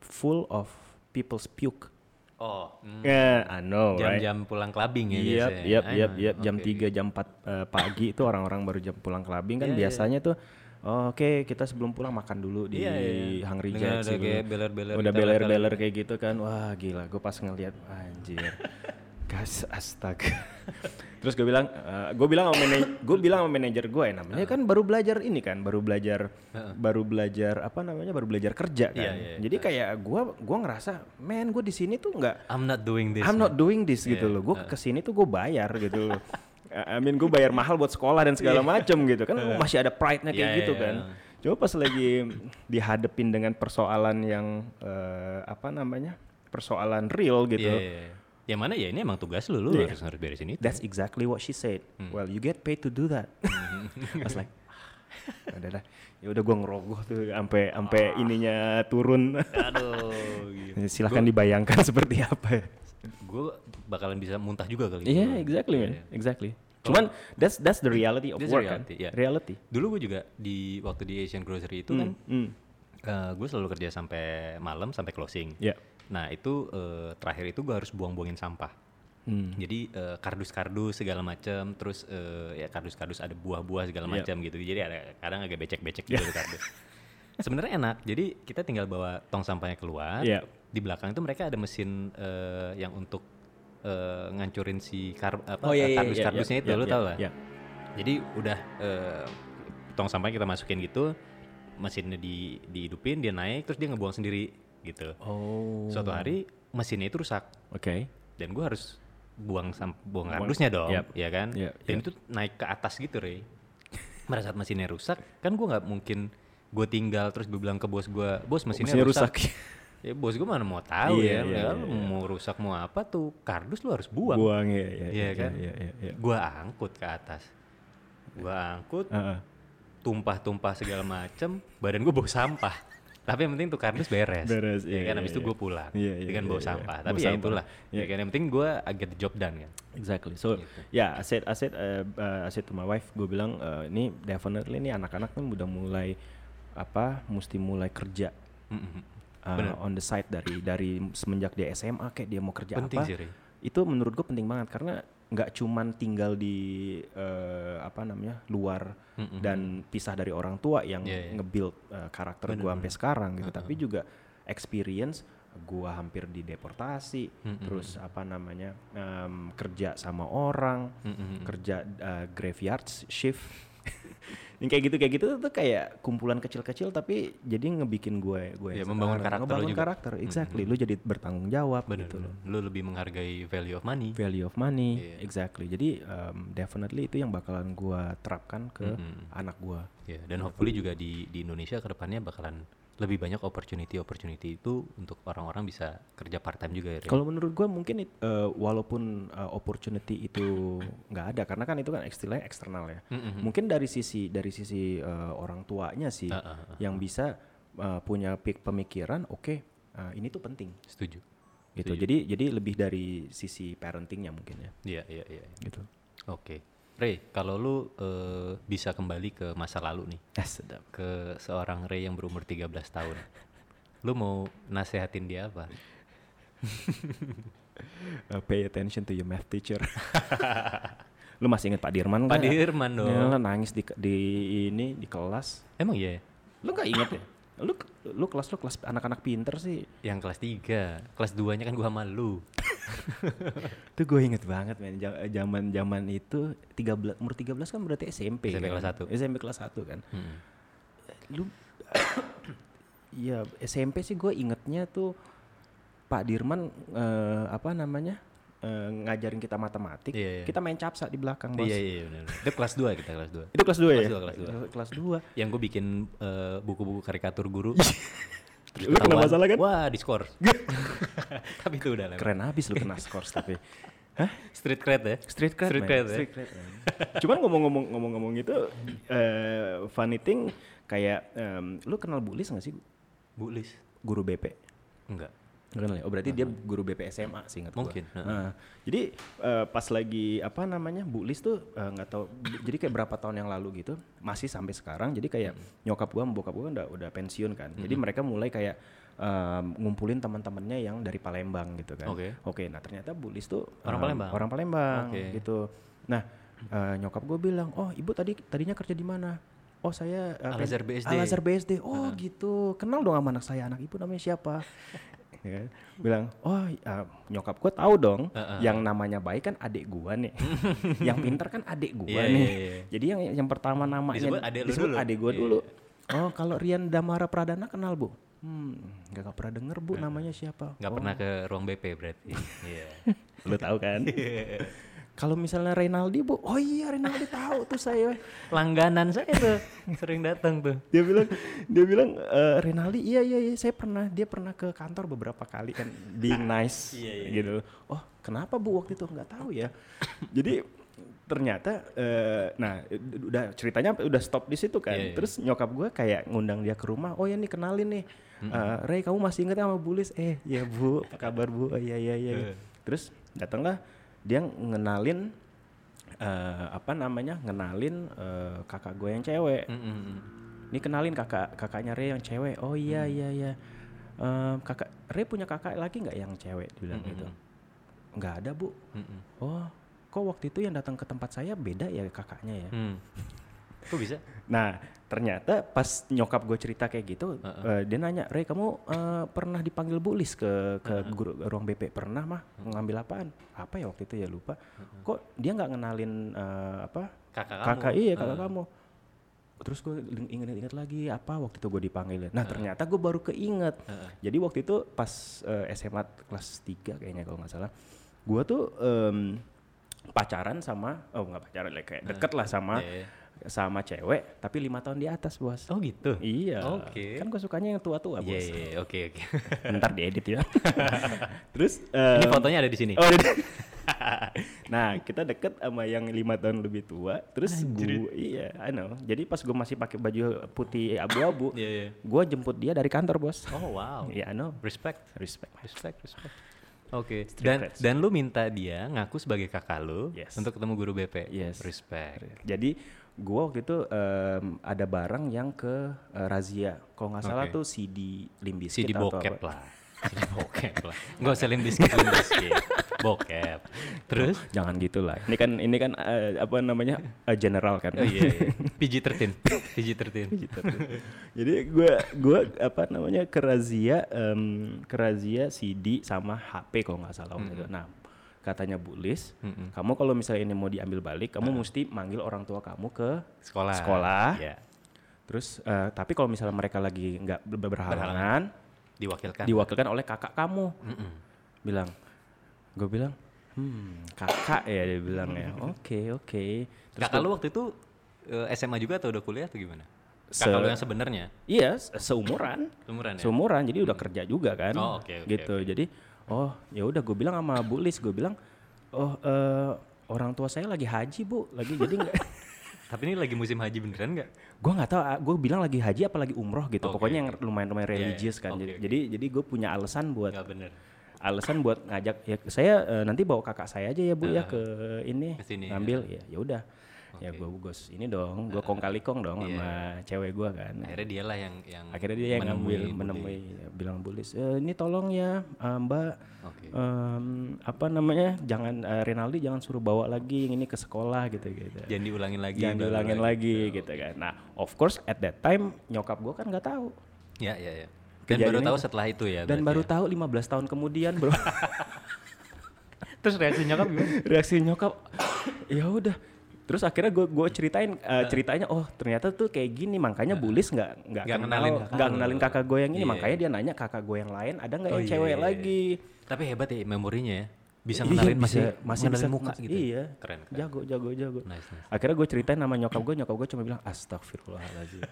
Speaker 2: full of people's puke
Speaker 1: Oh, mm.
Speaker 2: Eh, I know right
Speaker 1: jam-jam pulang clubbing ya
Speaker 2: Yap,
Speaker 1: biasanya.
Speaker 2: yap,
Speaker 1: I
Speaker 2: yap,
Speaker 1: know.
Speaker 2: yap. Jam
Speaker 1: Oke.
Speaker 2: 3, jam 4 eh, pagi itu orang-orang baru jam pulang ke labing
Speaker 1: *laughs*
Speaker 2: kan
Speaker 1: Iya, iya.
Speaker 2: biasanya tuh oh, oke kita sebelum pulang makan dulu di
Speaker 1: Iya, iya.
Speaker 2: Hungry
Speaker 1: Dengan
Speaker 2: Jack's
Speaker 1: ada
Speaker 2: gitu.
Speaker 1: kayak beler-beler
Speaker 2: Udah
Speaker 1: di
Speaker 2: beler-beler kayak gitu kan. Wah, gila. Gue pas ngeliat
Speaker 1: *laughs*
Speaker 2: anjir. Gas astaga. Terus gue bilang, gue bilang sama manajer, gue bilang sama manajer gue, ya, namanya kan baru belajar ini kan, baru belajar, baru belajar apa namanya, baru belajar kerja kan.
Speaker 1: Iya, iya,
Speaker 2: Jadi kayak gue, gue ngerasa, men gue di sini tuh nggak
Speaker 1: I'm not doing this. uh.
Speaker 2: I'm not doing this gitu loh. Gue kesini tuh gue bayar gitu loh. I I mean gue bayar mahal buat sekolah dan segala macem gitu kan masih ada pride-nya kayak
Speaker 1: Uh. Yeah,
Speaker 2: gitu
Speaker 1: yeah,
Speaker 2: kan. Coba pas lagi dihadepin dengan persoalan yang eh, apa namanya persoalan real gitu.
Speaker 1: Iya, iya, iya. Yang mana ya ini emang tugas lu, lu
Speaker 2: Iya.
Speaker 1: harus harus beresin itu.
Speaker 2: That's exactly what she said.
Speaker 1: Hmm.
Speaker 2: Well, you get paid to do
Speaker 1: *laughs*
Speaker 2: that. I was like, "Ah, udah dah. Ya udah gue ngerogoh tuh sampai sampai
Speaker 1: Ah.
Speaker 2: ininya turun.
Speaker 1: *laughs* Aduh, gitu.
Speaker 2: Silahkan dibayangkan *laughs* seperti apa. ya.
Speaker 1: Gue bakalan bisa muntah juga kali gitu.
Speaker 2: Iya, exactly man, exactly. Cuman that's that's the reality of
Speaker 1: That's the
Speaker 2: work
Speaker 1: reality,
Speaker 2: kan.
Speaker 1: yeah.
Speaker 2: Reality.
Speaker 1: ya, Dulu gue juga di waktu di Asian Grocery itu kan
Speaker 2: Hmm.
Speaker 1: gue Eh, selalu kerja sampai malam sampai closing.
Speaker 2: Ya.
Speaker 1: Nah itu eh, terakhir itu gue harus buang-buangin sampah.
Speaker 2: Hmm.
Speaker 1: Jadi eh, kardus-kardus segala macam, terus eh, ya kardus-kardus ada buah-buah segala
Speaker 2: Iya.
Speaker 1: macam gitu. Jadi ada kadang agak becek-becek
Speaker 2: Ya.
Speaker 1: gitu di
Speaker 2: *laughs*
Speaker 1: kardus. Sebenarnya enak. Jadi kita tinggal bawa tong sampahnya keluar.
Speaker 2: Iya.
Speaker 1: Di belakang itu mereka ada mesin eh, yang untuk eh, ngancurin si kar- apa,
Speaker 2: Oh, iya, iya, iya,
Speaker 1: kardus-kardusnya
Speaker 2: iya,
Speaker 1: itu,
Speaker 2: iya,
Speaker 1: lo
Speaker 2: iya,
Speaker 1: tau lah.
Speaker 2: iya.
Speaker 1: Jadi udah eh, tong sampah kita masukin gitu, mesinnya di dihidupin, dia naik, terus dia ngebuang sendiri gitu.
Speaker 2: Oh.
Speaker 1: Suatu hari mesinnya itu rusak
Speaker 2: Oke.
Speaker 1: dan gue harus buang sam- buang kardusnya dong,
Speaker 2: Yap.
Speaker 1: ya kan?
Speaker 2: Yap,
Speaker 1: Dan itu naik ke atas gitu, Rey. Pada saat mesinnya rusak, kan gue nggak mungkin gue tinggal terus gue bilang ke bos gue, bos mesinnya,
Speaker 2: mesinnya
Speaker 1: rusak.
Speaker 2: rusak."
Speaker 1: *laughs* ya bos gue mana mau tahu ya,
Speaker 2: Iya, iya,
Speaker 1: Ya, lu mau rusak mau apa tuh kardus lu harus buang.
Speaker 2: Buang ya ya.
Speaker 1: Iya kan?
Speaker 2: Iya iya iya.
Speaker 1: Gua angkut ke atas. Gua angkut,
Speaker 2: Heeh.
Speaker 1: tumpah-tumpah segala macem, badan gua bau sampah. Tapi yang penting tuh kardus beres.
Speaker 2: Beres,
Speaker 1: ya kan
Speaker 2: iya, iya,
Speaker 1: habis itu
Speaker 2: iya.
Speaker 1: gua pulang
Speaker 2: Iya, iya,
Speaker 1: dengan
Speaker 2: iya,
Speaker 1: bau
Speaker 2: iya.
Speaker 1: sampah.
Speaker 2: Bau
Speaker 1: Tapi ya
Speaker 2: sampah.
Speaker 1: itulah. Ya
Speaker 2: Iya.
Speaker 1: kan yang penting gua I get the job done kan.
Speaker 2: Exactly. So, ya I said I said uh, uh, I said to my wife, gue bilang uh, ini definitely ini anak-anak kan udah mulai apa? Mesti mulai kerja. uh, on the side dari dari semenjak dia SMA kayak dia mau kerja
Speaker 1: Penting
Speaker 2: Ya apa
Speaker 1: sih, Ri.
Speaker 2: itu menurut gue penting banget karena nggak cuman tinggal di eh, apa namanya luar dan pisah dari orang tua yang
Speaker 1: Iya, iya.
Speaker 2: nge-build eh, karakter gue sampai sekarang gitu tapi juga experience gue hampir dideportasi terus apa namanya em, kerja sama orang kerja eh, graveyard shift *laughs* yang kayak gitu kayak gitu tuh kayak kumpulan kecil-kecil tapi jadi ngebikin gue gue
Speaker 1: Ya,
Speaker 2: yang
Speaker 1: membangun karakter
Speaker 2: sekarang.
Speaker 1: lo
Speaker 2: Ngebangun
Speaker 1: juga.
Speaker 2: karakter exactly lu jadi bertanggung jawab
Speaker 1: Bener,
Speaker 2: gitu loh
Speaker 1: bener. Lu lebih menghargai value of money.
Speaker 2: value of money
Speaker 1: Iya.
Speaker 2: exactly jadi um, definitely itu yang bakalan gue terapkan ke anak gue
Speaker 1: Ya, dan hopefully juga di di Indonesia kedepannya bakalan lebih banyak opportunity opportunity itu untuk orang-orang bisa kerja part time juga ya. Ri.
Speaker 2: kalau menurut gue mungkin it- eh, walaupun eh, opportunity itu nggak ada karena kan itu kan istilahnya
Speaker 1: Ah,
Speaker 2: eksternal ya mungkin dari sisi dari sisi eh, orang tuanya sih yang bisa uh, punya pik pemikiran, oke, uh, ini tuh penting.
Speaker 1: Setuju.
Speaker 2: Gitu. Jadi jadi lebih dari sisi parentingnya mungkin ya.
Speaker 1: Iya, iya, iya. iya.
Speaker 2: Gitu.
Speaker 1: Oke. Ray, kalau lu eh, bisa kembali ke masa lalu nih,
Speaker 2: Eh, sedap.
Speaker 1: ke seorang Ray yang berumur 13 tahun. lu mau nasehatin dia apa?
Speaker 2: Uh, pay attention to your math teacher. *laughs* Lu masih ingat Pak Dirman
Speaker 1: Pak
Speaker 2: nggak?
Speaker 1: Dirman dong.
Speaker 2: Ya, nangis di, di ini di kelas.
Speaker 1: Emang iya ya?
Speaker 2: Lu nggak inget ya? Lu lu kelas lu kelas anak-anak pinter sih.
Speaker 1: Yang kelas 3, kelas 2-nya kan gua sama lu.
Speaker 2: Itu gue inget banget men, Ja- zaman zaman itu 13 umur 13 kan berarti SMP.
Speaker 1: SMP
Speaker 2: kan?
Speaker 1: kelas satu.
Speaker 2: SMP kelas 1 kan.
Speaker 1: Mm-mm.
Speaker 2: Lu *coughs* ya SMP sih gue ingetnya tuh Pak Dirman eh, apa namanya? eh, ngajarin kita matematik.
Speaker 1: Iya, iya.
Speaker 2: Kita main capsa di belakang, Bos.
Speaker 1: Iya, iya, iya. benar. Itu kelas 2 kita, kelas 2.
Speaker 2: Itu kelas 2 ya?
Speaker 1: Kelas dua, kelas dua.
Speaker 2: Kelas 2.
Speaker 1: Yang gue bikin eh, buku-buku karikatur guru. Terus
Speaker 2: Lu kena
Speaker 1: ketahuan,
Speaker 2: masalah kan?
Speaker 1: Wah, di skor. *laughs* Tapi itu udah lewat.
Speaker 2: Keren abis lu kena skor
Speaker 1: *laughs*
Speaker 2: tapi.
Speaker 1: Street cred ya?
Speaker 2: Street cred,
Speaker 1: Street
Speaker 2: man.
Speaker 1: cred ya?
Speaker 2: Street cred, man. Cuman ngomong-ngomong ngomong-ngomong itu eh funny thing kayak em, lu kenal Bulis gak sih
Speaker 1: Bulis.
Speaker 2: guru BP?
Speaker 1: Enggak.
Speaker 2: Nggak Kenal ya? Oh berarti dia guru BP SMA sih ingat
Speaker 1: Nah,
Speaker 2: gua.
Speaker 1: Mungkin, heeh.
Speaker 2: Nah, jadi eh, pas lagi apa namanya Bulis tuh eh, nggak tahu jadi kayak berapa tahun yang lalu gitu masih sampai sekarang jadi kayak
Speaker 1: Hmm.
Speaker 2: nyokap gua sama bokap gua kan udah, udah pensiun kan. Jadi mereka mulai kayak em, ngumpulin teman-temannya yang dari Palembang gitu kan.
Speaker 1: Oke.
Speaker 2: Oke, nah ternyata Bulis tuh
Speaker 1: Orang
Speaker 2: em,
Speaker 1: Palembang?
Speaker 2: Orang Palembang
Speaker 1: Oke.
Speaker 2: gitu. Nah, eh, nyokap gue bilang, "Oh, Ibu tadi tadinya kerja di mana?" Oh, saya eh, pen-
Speaker 1: Al-Azhar BSD.
Speaker 2: Al-Azhar BSD. Oh, gitu. Kenal dong sama anak saya, anak Ibu namanya siapa? *laughs* Ya kan? bilang, "Oh, eh, nyokap gue tahu dong yang namanya baik kan adik
Speaker 1: *laughs*
Speaker 2: gua nih. yang pintar kan adik gua
Speaker 1: Iya,
Speaker 2: nih."
Speaker 1: iya, iya.
Speaker 2: Jadi yang yang pertama namanya
Speaker 1: Disebut adik lu
Speaker 2: disebut
Speaker 1: dulu.
Speaker 2: adik gua
Speaker 1: Iya.
Speaker 2: dulu. Oh, kalau Rian Damara Pradana kenal, Bu? Hmm, gak, pernah denger, Bu, namanya siapa?
Speaker 1: Enggak
Speaker 2: Oh,
Speaker 1: pernah ke ruang BP berarti. Iya.
Speaker 2: *laughs* lu
Speaker 1: *laughs*
Speaker 2: tahu kan? Kalau misalnya Renaldi bu, oh iya Renaldi tahu tuh saya.
Speaker 1: Langganan saya tuh sering datang tuh.
Speaker 2: Dia bilang, dia bilang "Eh, Renaldi iya iya iya saya pernah dia pernah ke kantor beberapa kali kan
Speaker 1: *laughs*
Speaker 2: being nice
Speaker 1: Iya,
Speaker 2: gitu. Oh kenapa bu waktu itu nggak tahu ya. Jadi ternyata, eh, nah ud- udah ceritanya sampai udah stop di situ kan.
Speaker 1: Iya, iya.
Speaker 2: Terus nyokap gue kayak ngundang dia ke rumah. Oh ya nih kenalin nih, Eh, Ray kamu masih inget sama Bulis? Eh iya bu, apa kabar bu? Oh iya iya iya.
Speaker 1: Eh.
Speaker 2: Terus datanglah dia ngenalin eh, apa namanya ngenalin eh, kakak gue yang cewek. Ini kenalin kakak kakaknya Ray yang cewek. Oh iya iya iya. Em, kakak Ray punya kakak lagi nggak yang cewek? Dia bilang gitu. Nggak ada bu. Oh kok waktu itu yang datang ke tempat saya beda ya kakaknya ya.
Speaker 1: Hmm. Kok bisa?
Speaker 2: Nah, ternyata pas nyokap gue cerita kayak gitu, eh, dia nanya, Ray kamu eh, pernah dipanggil Bulis ke ke guru- ruang BP? Pernah mah ngambil apaan? Apa ya waktu itu ya lupa. Kok dia nggak ngenalin eh, apa?
Speaker 1: Kakak kamu. Hmm.
Speaker 2: Kakak iya kakak kamu. Terus gue inget-inget lagi apa waktu itu gue dipanggil. Nah ternyata gue baru keinget. Jadi waktu itu pas eh, SMA kelas 3 kayaknya kalau nggak salah, gue tuh em, pacaran sama, oh nggak pacaran, like, kayak deket lah sama
Speaker 1: Iya, iya.
Speaker 2: sama cewek tapi lima tahun di atas bos
Speaker 1: Oh gitu.
Speaker 2: iya
Speaker 1: Oke.
Speaker 2: kan gue sukanya yang tua-tua
Speaker 1: Iya,
Speaker 2: bos
Speaker 1: iya, iya. oke, oke.
Speaker 2: bentar diedit
Speaker 1: *laughs*
Speaker 2: ya terus
Speaker 1: Ini
Speaker 2: *laughs* em,
Speaker 1: fotonya ada di sini.
Speaker 2: oh, udah. *laughs* nah kita deket sama yang lima tahun lebih tua terus gue iya I know jadi pas gue masih pakai baju putih abu-abu
Speaker 1: Iya, iya.
Speaker 2: gue jemput dia dari kantor bos
Speaker 1: Oh, wow.
Speaker 2: iya I know
Speaker 1: Respect.
Speaker 2: respect
Speaker 1: Respect, respect. Oke, dan
Speaker 2: cred.
Speaker 1: dan lu minta dia ngaku sebagai kakak lu
Speaker 2: Yes.
Speaker 1: untuk ketemu guru BP.
Speaker 2: Yes.
Speaker 1: Respect.
Speaker 2: Jadi gua waktu itu em, ada barang yang ke eh, razia. Kalau nggak salah
Speaker 1: Oke.
Speaker 2: tuh CD Limbiskit
Speaker 1: CD
Speaker 2: atau
Speaker 1: bokep
Speaker 2: apa.
Speaker 1: lah. CD bokep lah. Enggak usah lim biskuit, lim biskuit. Bokep.
Speaker 2: *laughs*
Speaker 1: Terus
Speaker 2: Jangan gitu lah. Ini kan ini kan eh, apa namanya? eh, general kan.
Speaker 1: Oh iya, iya. PG-13. PG-13.
Speaker 2: Gitu. Jadi gua gua apa namanya? ke razia em, ke razia CD sama HP kalau nggak salah waktu itu. Nah, katanya Bulis, kamu kalau misalnya ini mau diambil balik, kamu mesti manggil orang tua kamu ke
Speaker 1: Sekolah.
Speaker 2: Sekolah.
Speaker 1: Iya.
Speaker 2: Terus eh, tapi kalau misalnya mereka lagi nggak ber- berhalangan,
Speaker 1: Diwakilkan.
Speaker 2: diwakilkan oleh kakak kamu. Bilang, gue bilang, hmm kakak ya dia bilang ya. *laughs* Oke oke. Terus
Speaker 1: Kakak
Speaker 2: gua-
Speaker 1: lu waktu itu eh, SMA juga atau udah kuliah atau gimana?
Speaker 2: Se-
Speaker 1: Kakak lu yang sebenarnya?
Speaker 2: Iya se- seumuran,
Speaker 1: Umuran ya?
Speaker 2: seumuran. Jadi udah kerja juga kan.
Speaker 1: Oh, oke, oke,
Speaker 2: Gitu. Jadi oh ya udah gue bilang sama
Speaker 1: *laughs*
Speaker 2: Bu Lis, gue bilang, oh eh, orang tua saya lagi haji bu, lagi jadi nggak
Speaker 1: Tapi ini lagi musim haji beneran nggak?
Speaker 2: gue nggak tahu gue bilang lagi haji apa lagi umroh gitu
Speaker 1: Oke,
Speaker 2: pokoknya yang
Speaker 1: oke. Iya,
Speaker 2: lumayan-lumayan
Speaker 1: iya.
Speaker 2: religius kan
Speaker 1: Oke,
Speaker 2: jadi
Speaker 1: oke.
Speaker 2: jadi, gue punya alasan buat
Speaker 1: Nggak bener.
Speaker 2: alasan buat ngajak ya saya eh, nanti bawa kakak saya aja ya bu ya
Speaker 1: Ah,
Speaker 2: ke ini
Speaker 1: ke sini,
Speaker 2: ngambil ya ya udah ya
Speaker 1: Oke.
Speaker 2: gue bugos ini dong gue kong kali kong dong
Speaker 1: Iya.
Speaker 2: sama cewek gue kan
Speaker 1: Akhirnya dialah yang yang
Speaker 2: akhirnya dia yang
Speaker 1: menemui
Speaker 2: ngambil
Speaker 1: Budi.
Speaker 2: menemui ya, bilang bulis "Eh, ini tolong ya eh, mbak
Speaker 1: Oke.
Speaker 2: em, apa namanya jangan eh, Renaldi jangan suruh bawa lagi yang ini ke sekolah gitu gitu
Speaker 1: Jangan diulangin lagi. Oh,
Speaker 2: jangan
Speaker 1: baru
Speaker 2: diulangin lagi gitu kan nah of course at that time nyokap gue kan nggak tahu
Speaker 1: Ya ya ya. Dan baru
Speaker 2: Kejadiannya- kan-
Speaker 1: tahu setelah itu ya.
Speaker 2: dan baru
Speaker 1: berarti
Speaker 2: tahu 15 tahun kemudian bro
Speaker 1: ya. *laughs* terus reaksi nyokap gimana?
Speaker 2: reaksi nyokap ya udah terus akhirnya gue gue ceritain eh, ceritanya oh ternyata tuh kayak gini makanya bulis nggak nggak
Speaker 1: Nggak
Speaker 2: kenal
Speaker 1: ngenalin kakak
Speaker 2: nggak
Speaker 1: lu.
Speaker 2: kenalin kakak gue yang ini
Speaker 1: Iya,
Speaker 2: makanya dia nanya kakak gue yang lain ada nggak
Speaker 1: Oh,
Speaker 2: yang
Speaker 1: iya,
Speaker 2: cewek
Speaker 1: iya, iya.
Speaker 2: lagi
Speaker 1: Tapi hebat ya memorinya ya. Bisa
Speaker 2: Iya,
Speaker 1: ngenalin
Speaker 2: bisa-
Speaker 1: masih
Speaker 2: masih
Speaker 1: ngenalin
Speaker 2: bisa-
Speaker 1: muka
Speaker 2: masih-
Speaker 1: gitu.
Speaker 2: iya.
Speaker 1: Keren keren.
Speaker 2: jago jago jago
Speaker 1: Nice nice.
Speaker 2: akhirnya gue ceritain nama nyokap gue nyokap gue cuma bilang astagfirullahaladzim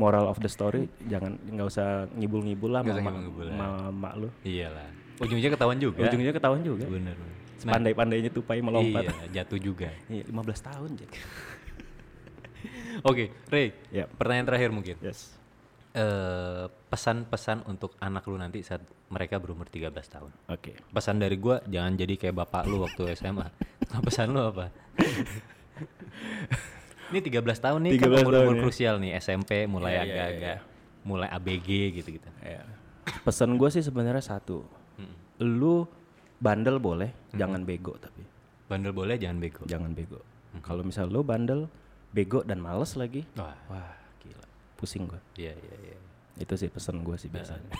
Speaker 2: moral of the story jangan nggak usah ngibul-ngibul lah
Speaker 1: Nggak usah
Speaker 2: sama
Speaker 1: ngibul-ngibul ya. lah.
Speaker 2: sama mak lu
Speaker 1: Iyalah. Ujungnya ketahuan juga.
Speaker 2: ujungnya ketahuan juga
Speaker 1: Bener. Nah,
Speaker 2: pandai-pandainya tupai melompat
Speaker 1: Iya, jatuh juga.
Speaker 2: iya. 15 tahun Jack
Speaker 1: Oke, Rey.
Speaker 2: Yap.
Speaker 1: Pertanyaan terakhir mungkin.
Speaker 2: yes
Speaker 1: Eh, pesan-pesan untuk anak lu nanti saat mereka berumur 13 tahun.
Speaker 2: oke
Speaker 1: Pesan dari gua jangan jadi kayak bapak lu waktu
Speaker 2: *laughs*
Speaker 1: SMA. Nah, pesan lu apa? Ini 13 tahun nih kan
Speaker 2: 13
Speaker 1: umur, umur
Speaker 2: tahun ya.
Speaker 1: krusial nih SMP mulai
Speaker 2: Iya, iya,
Speaker 1: agak-agak mulai ABG gitu-gitu.
Speaker 2: Ya. Pesan gue sih sebenarnya satu.
Speaker 1: Hmm.
Speaker 2: Lu bandel boleh, jangan bego tapi.
Speaker 1: Bandel Hmm. boleh Hmm. jangan bego.
Speaker 2: Jangan bego. Kalau misal lu bandel, bego dan males lagi,
Speaker 1: Wah,
Speaker 2: wah gila, pusing gue.
Speaker 1: iya iya iya.
Speaker 2: Itu sih pesan gue sih biasanya.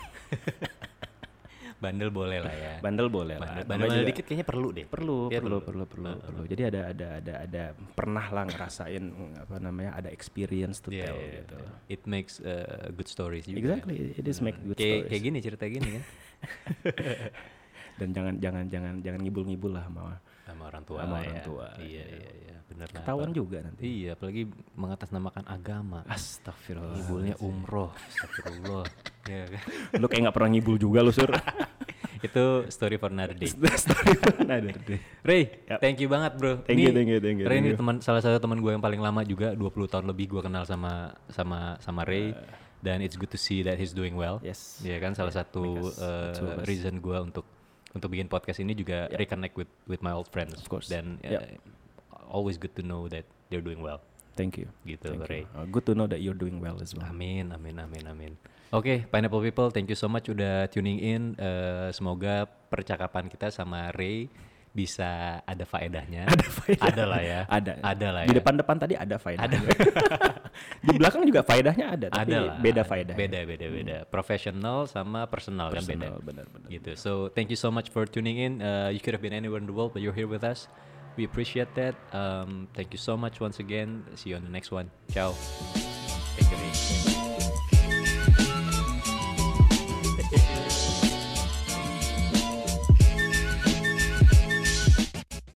Speaker 1: Bandel boleh lah ya.
Speaker 2: *laughs* Bandel boleh
Speaker 1: Bandel,
Speaker 2: lah.
Speaker 1: bandel,
Speaker 2: Namanya juga-
Speaker 1: dikit kayaknya perlu nah. deh.
Speaker 2: perlu,
Speaker 1: Iya,
Speaker 2: perlu, perlu, perlu, perlu. Jadi ada ada ada ada pernah lah ngerasain mm, apa namanya ada experience to
Speaker 1: Iya,
Speaker 2: tell
Speaker 1: iya,
Speaker 2: gitu.
Speaker 1: iya. It makes uh, good stories juga.
Speaker 2: Exactly, it is make
Speaker 1: Bener-bener.
Speaker 2: good
Speaker 1: kayak,
Speaker 2: stories.
Speaker 1: Kayak gini cerita gini
Speaker 2: *laughs*
Speaker 1: kan.
Speaker 2: Dan jangan jangan jangan jangan ngibul-ngibul lah sama
Speaker 1: Sama orang tua.
Speaker 2: Sama
Speaker 1: lah
Speaker 2: orang
Speaker 1: ya.
Speaker 2: tua,
Speaker 1: Iya, iya, iya. Bener lah.
Speaker 2: ketahuan
Speaker 1: apalagi-
Speaker 2: juga nanti.
Speaker 1: Iya, apalagi mengatasnamakan agama.
Speaker 2: Astagfirullah.
Speaker 1: Ngibulnya umroh.
Speaker 2: *laughs*
Speaker 1: Astagfirullah. Iya kan?
Speaker 2: lu kayak nggak pernah ngibul juga lu
Speaker 1: *laughs*
Speaker 2: sur
Speaker 1: Itu story for another day.
Speaker 2: story kan for another day.
Speaker 1: Ray,
Speaker 2: Yap.
Speaker 1: thank you banget bro.
Speaker 2: Ya. Thank you, thank you, thank you,
Speaker 1: Ray
Speaker 2: thank
Speaker 1: ini
Speaker 2: you.
Speaker 1: teman salah satu teman gue yang paling lama juga 20 tahun lebih gue kenal sama sama sama Ray dan it's good to see that he's doing well.
Speaker 2: Eh. Yes.
Speaker 1: Iya kan salah satu
Speaker 2: because the two of
Speaker 1: eh,
Speaker 2: us.
Speaker 1: reason gue untuk untuk bikin podcast ini juga reconnect with with my old friends.
Speaker 2: Of course.
Speaker 1: Dan
Speaker 2: Yep.
Speaker 1: eh, always good to know that they're doing well.
Speaker 2: thank you
Speaker 1: Gitu,
Speaker 2: Thank
Speaker 1: Ray.
Speaker 2: you. Uh, good to know that you're doing well as well
Speaker 1: Amin, amin, amin, amin. Oke, Pineapple People, thank you so much udah tuning in. Eh, semoga percakapan kita sama Ray bisa ada
Speaker 2: *laughs*
Speaker 1: faedahnya. Ada faedah. Ada lah ya.
Speaker 2: ada
Speaker 1: Ada lah ya.
Speaker 2: di depan depan tadi ada faedah
Speaker 1: Ada. *laughs*
Speaker 2: di belakang juga faedahnya ada tapi
Speaker 1: ada lah.
Speaker 2: beda faedah
Speaker 1: Beda, beda, beda. Professional sama personal, kan beda.
Speaker 2: benar benar
Speaker 1: Gitu. So, thank you so much for tuning in. Uh, you could have been anywhere in the world, but you're here with us. We appreciate that. Um, thank you so much once again. See you on the next one. Ciao. Take care.